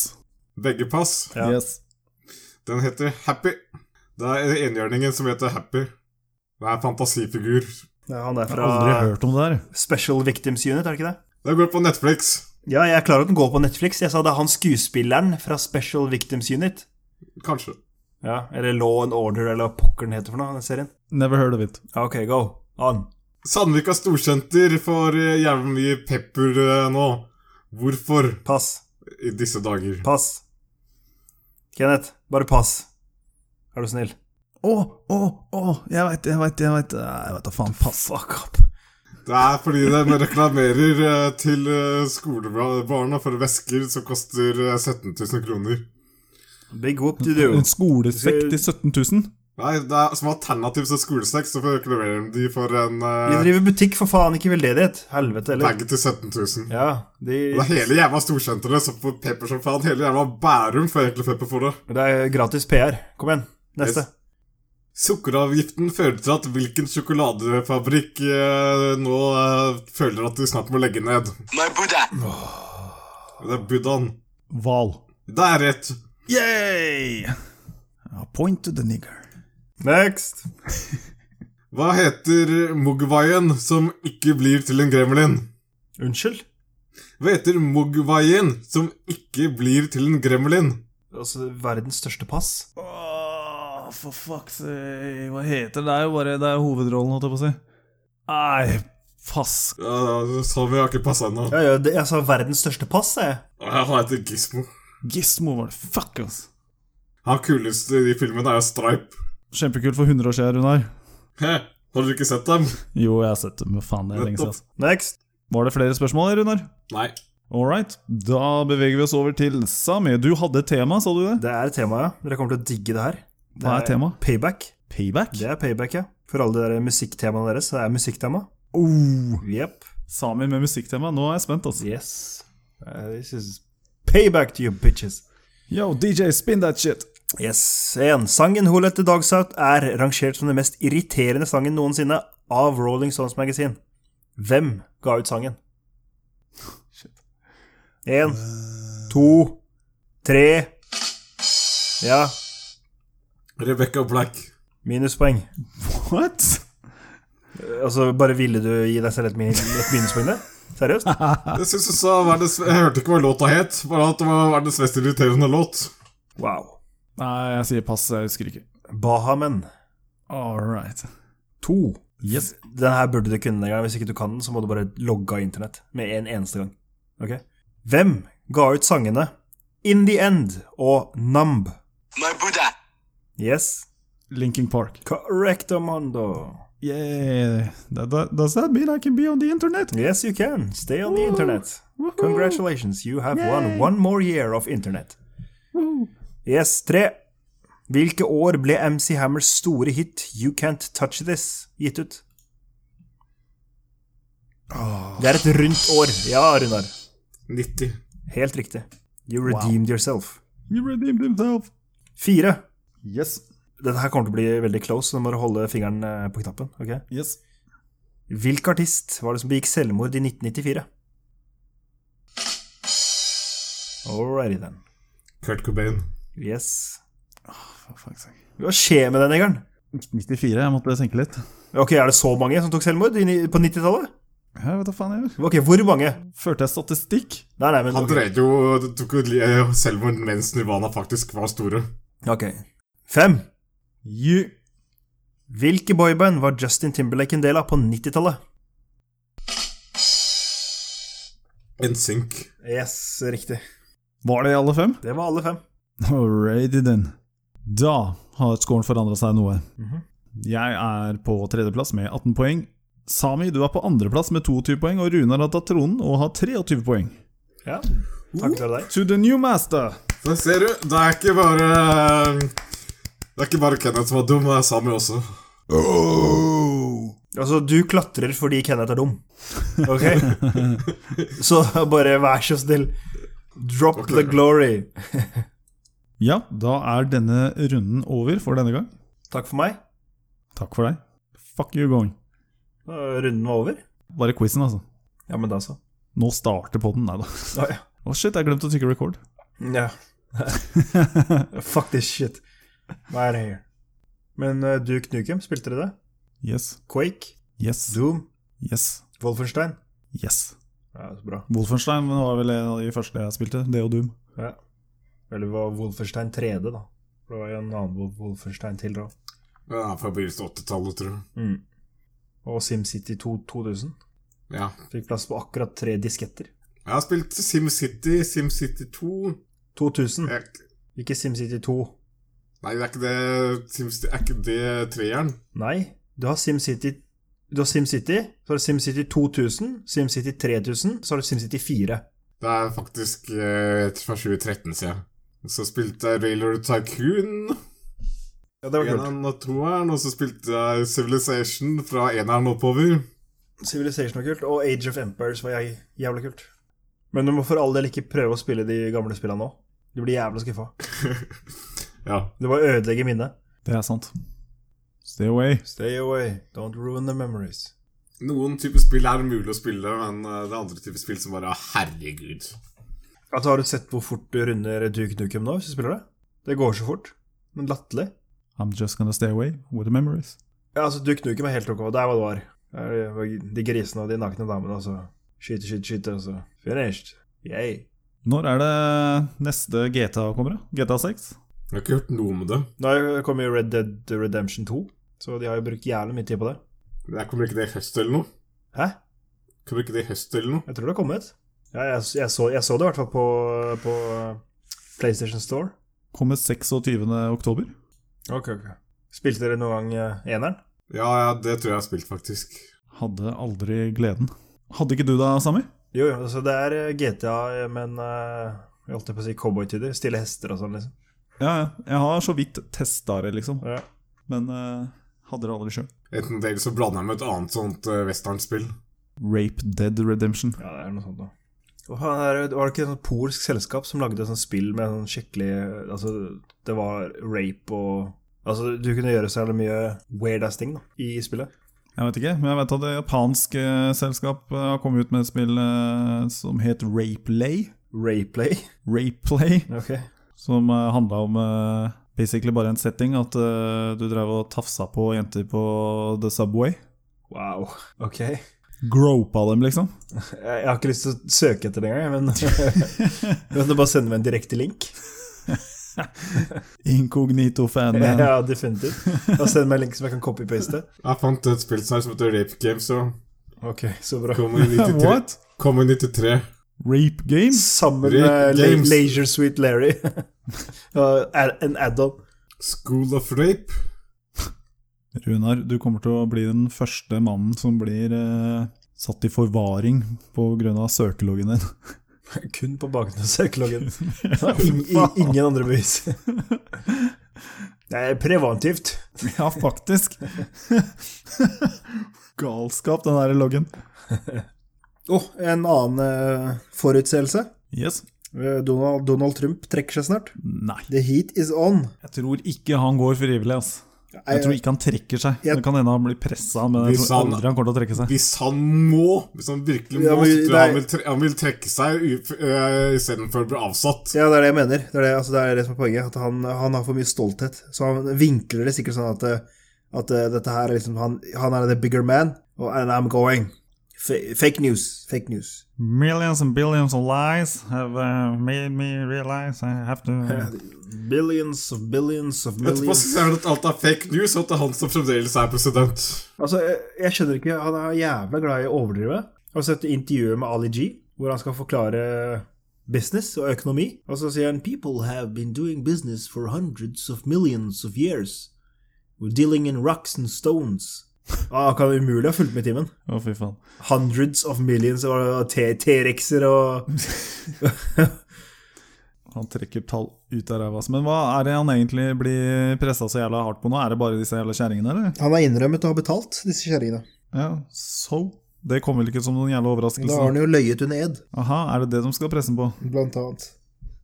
Speaker 3: Begge pass.
Speaker 2: Ja.
Speaker 1: Yes.
Speaker 3: Den heter Happy. Det er enhjørningen som heter Happy. Det er en fantasifigur.
Speaker 2: Ja, han er
Speaker 1: Jeg har aldri
Speaker 2: fra
Speaker 1: hørt om det her.
Speaker 2: Special Victims Unit, er det ikke det?
Speaker 3: Det går på Netflix.
Speaker 2: Ja, jeg er klar over at den går på Netflix. Jeg sa det er han skuespilleren fra Special Victims Unit.
Speaker 3: Kanskje.
Speaker 2: Ja, Eller Law and Order, eller hva pokker den heter for noe, den serien.
Speaker 1: Never heard of it.
Speaker 2: Ja, ok, go. On.
Speaker 3: Sandvika Storsenter får eh, jævlig mye pepper eh, nå. Hvorfor
Speaker 2: Pass.
Speaker 3: i disse dager?
Speaker 2: Pass. Kenneth, bare pass. Er du snill?
Speaker 1: Å, å, å, jeg veit, jeg veit, jeg veit Jeg veit da faen. Pass.
Speaker 2: Fuck up.
Speaker 3: Det er fordi de reklamerer eh, til eh, skolebarna for vesker som koster eh, 17 000 kroner.
Speaker 2: Big whoop to do.
Speaker 1: En skolesekk til 17 000?
Speaker 3: Nei, det er som alternativ til skolesnacks, så reklamerer de for en
Speaker 2: De
Speaker 3: uh,
Speaker 2: driver butikk, for faen, ikke veldedighet. Helvete heller.
Speaker 3: bag til 17 000.
Speaker 2: Ja, de
Speaker 3: Det er hele jævla storsenteret som får pepper som faen. Hele jævla Bærum får egentlig pepper for det.
Speaker 2: Det er gratis PR. Kom igjen. Neste.
Speaker 3: Yes. Sukkeravgiften fører til at hvilken sjokoladefabrikk eh, nå eh, føler at de snart må legge ned.
Speaker 5: My Buddha.
Speaker 3: Det er Buddhaen.
Speaker 1: Hval.
Speaker 3: Det er rett.
Speaker 1: Yay! Ja, point to the nigger.
Speaker 2: Next.
Speaker 3: Hva heter Mogwaien som ikke blir til en gremlin?
Speaker 2: Unnskyld?
Speaker 3: Hva heter Mogwaien som ikke blir til en gremlin?
Speaker 2: Altså, verdens største pass?
Speaker 1: Åh, for fuck's sake Hva heter det? Det er jo bare det er hovedrollen, holdt jeg på å si. Nei, pass.
Speaker 3: Ja, Som jeg sånn har ikke passa ennå.
Speaker 2: Ja, ja, det, jeg sa verdens største pass, jeg.
Speaker 3: Han heter Gismo.
Speaker 1: Gismo var det. Fuck, ass.
Speaker 3: Han kuleste i de filmene er jo Stripe.
Speaker 1: Kjempekult for 100 år siden, Runar.
Speaker 3: Hæ? Har dere ikke sett dem?
Speaker 1: Jo, jeg har sett det, men faen, det er lenge siden. ass.
Speaker 2: Next.
Speaker 1: Var det flere spørsmål, Runar?
Speaker 3: Nei.
Speaker 1: All right. Da beveger vi oss over til Sami. Du hadde et tema, sa du det?
Speaker 2: Det er temaet, ja. Dere kommer til å digge det her. Det
Speaker 1: Hva er tema?
Speaker 2: Payback.
Speaker 1: Payback?
Speaker 2: Det er payback, ja. For alle de der musikktemaene deres, det er musikktema.
Speaker 1: Oh,
Speaker 2: Jepp.
Speaker 1: Sami med musikktema. Nå er jeg spent, altså.
Speaker 2: Yes. Uh, this is payback to you bitches.
Speaker 1: Yo, DJ, spin that shit!
Speaker 2: Yes. En. Sangen Who Let The Dogs Out er rangert som den mest irriterende sangen noensinne av Rolling Stones Magazine. Hvem ga ut sangen? En, Uh. to, tre Ja,
Speaker 3: Rebecca Black.
Speaker 2: minuspoeng.
Speaker 1: What?
Speaker 2: Altså, bare ville du gi deg selv et, min et minuspoeng der? Seriøst?
Speaker 3: Jeg synes du sa verdens Jeg hørte ikke hva låta het, bare at det var verdens mest irriterende låt.
Speaker 2: Wow.
Speaker 1: Nei, jeg sier pass, jeg husker ikke.
Speaker 2: Bahamen
Speaker 1: All right.
Speaker 2: 2.
Speaker 1: Yes.
Speaker 2: Den her burde du kunne en gang. Hvis ikke du kan den, så må du bare logge av internett med en eneste gang. Ok? Hvem ga ut sangene In The End og Numb?
Speaker 5: My Buddha.
Speaker 2: Yes,
Speaker 1: Linking Park.
Speaker 2: correct, Amando.
Speaker 1: Yeah, that, that, does that mean I can be on the internet?
Speaker 2: Yes, you can. Stay on the internet. Congratulations, you have won one more year of internet. Yes, tre. Hvilke år ble MC Hammers store hit You Can't Touch This gitt ut? Det er et rundt år. Ja, Runar.
Speaker 3: 90.
Speaker 2: Helt riktig. You redeemed yourself.
Speaker 1: You redeemed himself.
Speaker 2: Fire.
Speaker 1: Yes.
Speaker 2: Dette her kommer til å bli veldig close, så du må du holde fingeren eh, på knappen. ok?
Speaker 1: Yes.
Speaker 2: Hvilken artist var det som begikk selvmord i 1994? Alrighty then.
Speaker 3: Kurt Cobain.
Speaker 2: Yes.
Speaker 1: For fuck's sake.
Speaker 2: Hva skjer med den negeren?
Speaker 1: 94, jeg måtte tenke litt.
Speaker 2: Ok, Er det så mange som tok selvmord i ni- på 90-tallet?
Speaker 1: Jeg vet da faen jeg gjør.
Speaker 2: Ok, Hvor mange?
Speaker 1: Førte jeg statistikk?
Speaker 2: Nei, nei, men
Speaker 3: Han
Speaker 2: ok.
Speaker 3: drev jo det tok jo li- eh, selvmord mens Nirvana faktisk var store.
Speaker 2: Ok. Fem.
Speaker 1: You.
Speaker 2: Hvilke boyband var Justin Timberlake en del av på 90-tallet?
Speaker 3: NSYNC.
Speaker 2: Yes, riktig.
Speaker 1: Var det alle fem?
Speaker 2: Det var alle fem.
Speaker 1: Alrighty then. Da har scoren forandra seg noe. Jeg er på tredjeplass med 18 poeng. Sami, du er på andreplass med 22 poeng, og Runar har tatt tronen og har 23 poeng.
Speaker 2: Ja, Takk til deg.
Speaker 1: To the new master!
Speaker 3: Så eh, ser du, det er ikke bare Det er ikke bare Kenneth som var dum, det er Sami også.
Speaker 2: Altså, du klatrer fordi Kenneth er dum. Ok? Så bare vær så snill. Drop the glory.
Speaker 1: Ja, da er denne runden over for denne gang.
Speaker 2: Takk for meg.
Speaker 1: Takk for deg. Fuck you going.
Speaker 2: Øh, Runden var over.
Speaker 1: Bare quizen, altså.
Speaker 2: Ja, men da så.
Speaker 1: Nå starter podden. Nei da.
Speaker 2: Å, ja.
Speaker 1: Å shit, jeg glemte å trykke record.
Speaker 2: Ja. Fuck this shit. Hva er det her? Men eh, du, Knukem, spilte dere det?
Speaker 1: Yes.
Speaker 2: Quake?
Speaker 1: Yes.
Speaker 2: Doom?
Speaker 1: Yes.
Speaker 2: Wolfenstein?
Speaker 1: Yes.
Speaker 2: Ja, så bra.
Speaker 1: Wolfenstein var vel en av de første jeg spilte. Det og Doom.
Speaker 2: Ja. Eller det var Wolfenstein 3D, da. For Det var jo en annen Wol- Wolfenstein til, da.
Speaker 3: Ja, Fra begynnelsen av 80-tallet, tror jeg.
Speaker 2: Mm. Og SimCity 2 2000.
Speaker 3: Ja.
Speaker 2: Fikk plass på akkurat tre disketter.
Speaker 3: Jeg har spilt SimCity, SimCity 2
Speaker 2: 2000,
Speaker 3: jeg,
Speaker 2: ikke SimCity 2.
Speaker 3: Nei, det er ikke det SimCity, Er ikke det treeren?
Speaker 2: Nei, du har SimCity Du har SimCity, så har du SimCity 2000, SimCity 3000, så har du SimCity 4.
Speaker 3: Det er faktisk eh, fra 2013, sier jeg. Så spilte jeg Railroad Tycoon,
Speaker 2: Ja, det var kult.
Speaker 3: eneren og toeren, og så spilte jeg Civilization fra eneren oppover.
Speaker 2: Civilization var kult, og Age of Empires var jæ- jævla kult. Men du må for all del ikke prøve å spille de gamle spillene nå. Du blir jævla skuffa.
Speaker 3: Ja.
Speaker 2: Du må ødelegge minnet.
Speaker 1: Det er sant. Stay away.
Speaker 2: Stay away, don't ruin the memories.
Speaker 3: Noen typer spill er mulig å spille, men eh, det er andre typer spill som bare Herregud.
Speaker 2: Altså, har du sett hvor fort du runder Duke Nukem nå, hvis du spiller det? Det går så fort. Men latterlig.
Speaker 1: I'm just gonna stay away with the memories.
Speaker 2: Ja, altså, Duke Nukem er helt ok. Det er hva det var. Det er- det var De grisene og de nakne damene, og så skyte, skyte, skyte, og så finished. Yay.
Speaker 1: Når er det neste GTA kommer, da? GTA 6?
Speaker 3: Jeg har ikke hørt noe om det.
Speaker 2: Nå kommer jo Red Dead Redemption 2, så de har jo brukt jævlig mye tid på det.
Speaker 3: Jeg kommer ikke det i høst eller noe.
Speaker 2: Hæ?
Speaker 3: Kommer ikke det i høst eller noe.
Speaker 2: Jeg tror det har kommet. Ja, jeg, jeg, så, jeg så det i hvert fall på, på eh, PlayStation Store.
Speaker 1: Kommer 26. oktober.
Speaker 2: Ok, ok. Spilte dere noen gang eh, eneren?
Speaker 3: Ja, ja, det tror jeg jeg har spilt, faktisk.
Speaker 1: Hadde aldri gleden. Hadde ikke du da, Sami?
Speaker 2: Jo, jo. Altså, det er eh, GTA, eh, men eh, jeg holdt på å si cowboytider. Stille hester og sånn, liksom.
Speaker 1: Ja, ja. Jeg har så vidt testa det, liksom.
Speaker 2: Ja.
Speaker 1: Men eh, hadde det aldri sjøl.
Speaker 3: Enten det, eller så blander jeg med et annet sånt eh, westernspill.
Speaker 1: Rape Dead Redemption.
Speaker 2: ja, det er noe sånt, da. Og faen, er det- var det ikke et sånt polsk selskap som lagde et sånt spill med sånn skikkelig eh, Altså, det var rape og Altså, du kunne gjøre så jævlig mye weird ass ting da, i spillet.
Speaker 1: Jeg vet ikke, men jeg vet at et japansk eh, selskap eh, har kommet ut med et spill eh, som het Rapelay.
Speaker 2: Rayplay.
Speaker 1: Rapeplay,
Speaker 2: Ok.
Speaker 1: som uh, handla om eh, basically bare en setting. At eh, du drev og tafsa på jenter på The Subway.
Speaker 2: Wow. Ok.
Speaker 1: Gropa dem, liksom.
Speaker 2: Jeg jeg har ikke lyst til å søke etter det engang, men Men du bare sender meg en direkte link.
Speaker 1: Inkognito-fan.
Speaker 2: Ja, definitivt. Da sender meg en link som jeg kan copy-paste.
Speaker 3: Jeg fant et spill som her som heter Rape Games, og
Speaker 2: Ok, så bra.
Speaker 3: kom i 93.
Speaker 1: What?
Speaker 3: Kom i 93.
Speaker 1: Rape games?
Speaker 2: Sammen
Speaker 3: Rick
Speaker 2: med La-
Speaker 3: Games.
Speaker 2: Leisure Sweet Larry. Og ad- En add-on.
Speaker 3: School of Rape.
Speaker 1: Runar, du kommer til å bli den første mannen som blir eh, satt i forvaring pga. søkeloggen din.
Speaker 2: Kun på bakgrunn av søkeloggen. Ing- i- Ingen andre bevis. Det er preventivt.
Speaker 1: ja, faktisk! Galskap, den der loggen.
Speaker 4: Åh, en annen eh, forutseelse.
Speaker 1: Yes.
Speaker 4: Eh, Donald, Donald Trump trekker seg snart.
Speaker 1: Nei.
Speaker 4: The heat is on.
Speaker 1: Jeg tror ikke han går frivillig, ass. Jeg tror ikke han trekker seg.
Speaker 4: jeg-
Speaker 1: Det kan hende han blir pressa, men jeg
Speaker 3: Hvis
Speaker 1: tror
Speaker 3: han-
Speaker 1: aldri han kommer til å trekke seg.
Speaker 3: Hvis han må, hvis han virkelig må,
Speaker 4: Ja, men
Speaker 3: så tror jeg han
Speaker 4: nei.
Speaker 3: vil, tre han vil trekke seg u- eh, istedenfor å bli avsatt.
Speaker 4: Ja, det er det jeg mener. Det er det, altså, det, er det som er poenget. At han, han har for mye stolthet. Så han vinkler det sikkert sånn at, eh, at eh, dette her er liksom han, han er the bigger man, og and I'm going. Fa- Fake news. Fake news.
Speaker 1: Millions and billions of lies have uh, made me realize I have to
Speaker 2: Billions of billions of
Speaker 3: Etterpå
Speaker 2: millions
Speaker 3: så ser han at alt er fake news, og at det er han som fremdeles er president.
Speaker 2: Altså, jeg, jeg skjønner ikke Han er jævla glad i å overdrive. Har du sett intervjuet med Ali G, hvor han skal forklare business og økonomi? Og så sier han People have been doing business for hundreds of millions of years. We're dealing in rocks and stones. Ah, han kan umulig ha fulgt med i timen.
Speaker 1: Å, fy faen.
Speaker 2: Hundreds of millions og T- T-rexer og
Speaker 1: Han trekker tall ut av ræva. altså. Men hva er det han egentlig blir pressa så jævla hardt på nå? Er det bare disse jævla kjerringene, eller?
Speaker 2: Han har innrømmet å ha betalt disse kjerringene.
Speaker 1: Ja, so? Det kommer vel ikke som noen jævla
Speaker 2: Da har
Speaker 1: overraskelse?
Speaker 2: han jo løyet under ed,
Speaker 1: Aha, er det det de skal presse ham på?
Speaker 2: blant annet.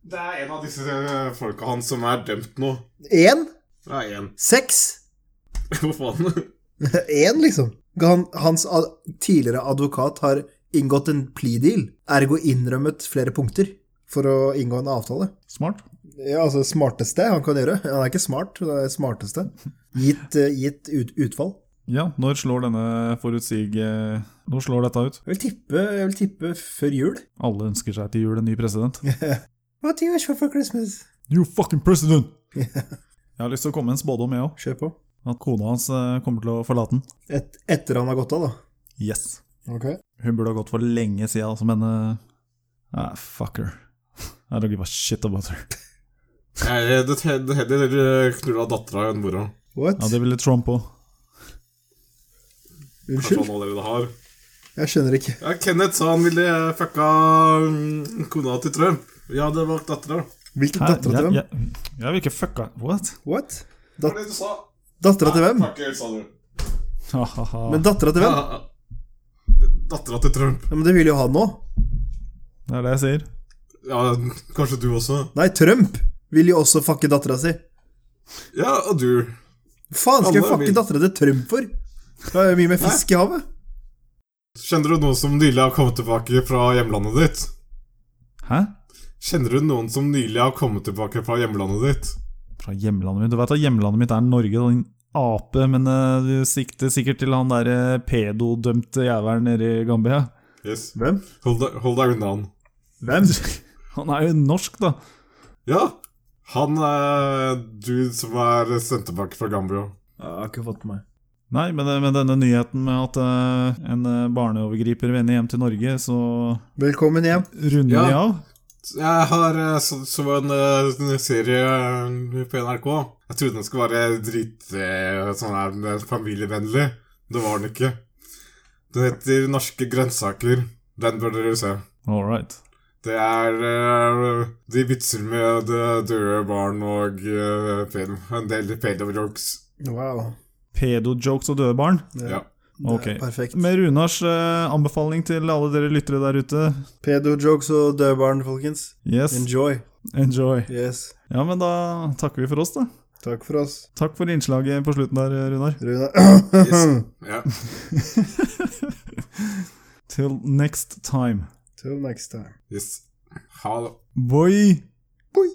Speaker 3: Det er en av disse eh, folka hans som er dømt nå.
Speaker 2: Én?
Speaker 3: Det er én.
Speaker 2: Seks?
Speaker 3: Hva faen?
Speaker 2: Én, liksom? Han, hans ad tidligere advokat har inngått en plea deal, ergo innrømmet flere punkter for å inngå en avtale.
Speaker 1: Smart?
Speaker 2: Ja, altså smarteste han kan gjøre. Han er ikke smart, det er smarteste. Gitt, eh, gitt ut, utfall.
Speaker 1: Ja, når slår denne forutsig... eh, Når slår dette ut?
Speaker 2: Jeg vil tippe, jeg vil tippe før jul.
Speaker 1: Alle ønsker seg til jul en ny president.
Speaker 2: What do you wish for for Christmas?
Speaker 1: You fucking president! Jeg har lyst til å komme med en spådom, jeg òg.
Speaker 2: Kjør på.
Speaker 1: At kona hans eh, kommer til å forlate den.
Speaker 2: Et, etter han har gått av, da.
Speaker 1: Yes.
Speaker 2: Ok.
Speaker 1: Hun burde ha gått for lenge siden, altså, men eh, ah, Fuck her. I don't give a shit about her.
Speaker 3: Nei, det det heller eh, knulla dattera enn mora.
Speaker 2: What?
Speaker 1: Ja, Det ville Trump òg.
Speaker 3: Kanskje
Speaker 2: Unnskyld?
Speaker 3: han allerede har.
Speaker 2: Jeg skjønner ikke.
Speaker 3: Ja, Kenneth sa han ville eh, fucka mm, kona til Trump. Ja, det var dattera.
Speaker 2: Hvilken
Speaker 1: Hæ?
Speaker 2: datter til
Speaker 1: Jeg,
Speaker 2: hvem?
Speaker 1: jeg, jeg vil ikke fucka What?
Speaker 2: What?
Speaker 3: Hva var det du sa?
Speaker 2: Dattera til hvem?
Speaker 3: Fuck you, sa du.
Speaker 1: Hahaha.
Speaker 2: Men dattera til hvem?
Speaker 3: Ja, dattera til Trump.
Speaker 2: Ja, men det vil jo han nå.
Speaker 1: det er det jeg sier.
Speaker 3: Ja, kanskje du også.
Speaker 2: Nei, Trump vil jo også fucke dattera si.
Speaker 3: Ja, og du.
Speaker 2: Hva faen skal jeg
Speaker 3: Alle
Speaker 2: fucke
Speaker 3: vil.
Speaker 2: dattera til Trump for? Det er jo mye mer fisk i havet.
Speaker 3: Kjenner du noen som nylig har kommet tilbake fra hjemlandet ditt?
Speaker 1: Hæ?
Speaker 3: Kjenner du noen som nylig har kommet tilbake fra hjemlandet ditt?
Speaker 1: Fra hjemlandet mitt? Du veit at hjemlandet mitt er Norge, da, din ape, men eh, du sikter sikkert til han derre pedodømte jævelen nede i Gambia.
Speaker 3: Yes.
Speaker 2: Hvem?
Speaker 3: Hold deg, hold deg unna han.
Speaker 2: Hvem?
Speaker 1: Han er jo norsk, da.
Speaker 3: Ja. Han er dude som er sendt tilbake fra Gambia.
Speaker 2: Jeg har ikke fått med meg.
Speaker 1: Nei, men, eh, men denne nyheten med at eh, en eh, barneovergriper vender hjem til Norge, så
Speaker 2: Velkommen hjem.
Speaker 1: runder
Speaker 3: Ja.
Speaker 1: vi av.
Speaker 3: Jeg har eh, så, så en, eh, en serie eh, på NRK. Jeg trodde den skulle være drit eh, sånn her eh, familievennlig. Det var den ikke. Den heter Norske grønnsaker. Den bør dere se.
Speaker 1: All right.
Speaker 3: Det er eh, De vitser med eh, døde barn og eh, film. En del pedo-jokes.
Speaker 2: Wow.
Speaker 1: Pedo-jokes og døde barn.
Speaker 2: Det,
Speaker 3: Ja.
Speaker 2: det
Speaker 1: Ok.
Speaker 2: er perfekt.
Speaker 1: Med Runars eh, anbefaling til alle dere lyttere der ute
Speaker 2: Pedo-jokes og døde barn, folkens.
Speaker 1: Yes,
Speaker 2: Enjoy.
Speaker 1: enjoy.
Speaker 2: Yes.
Speaker 1: Ja, men da takker vi for oss, da.
Speaker 2: Takk for oss,
Speaker 1: Takk for innslaget på slutten der, eh, Runar.
Speaker 2: Rune.
Speaker 3: Yes. Ja.
Speaker 1: Till next time.
Speaker 2: Till next time.
Speaker 3: yes. Ha det.
Speaker 1: Boy.
Speaker 2: Boy.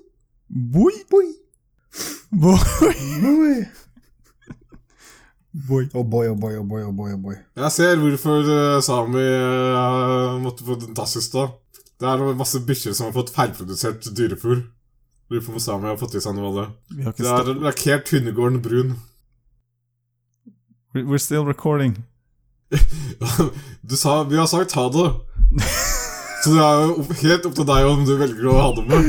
Speaker 1: Boy.
Speaker 2: Boy.
Speaker 1: Boy.
Speaker 2: Boy.
Speaker 1: Boy.
Speaker 2: Oh boy, oh boy, oh boy, oh boy, oh boy.
Speaker 3: Jeg ser hvorfor eh, Sami eh, måtte få den tass i stad. Det er masse bikkjer som har fått feilprodusert dyrefôr. Lurer på om Sami har fått i seg noe av det.
Speaker 1: Vi har ikke
Speaker 3: Det er
Speaker 1: stopp.
Speaker 3: lakkert hundegården brun.
Speaker 1: We're still recording.
Speaker 3: Du sa Vi har sagt ha det. Så det er jo opp- helt opp til deg om du velger å ha det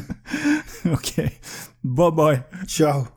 Speaker 3: med.
Speaker 1: ok. Bye-bye.
Speaker 2: Ciao.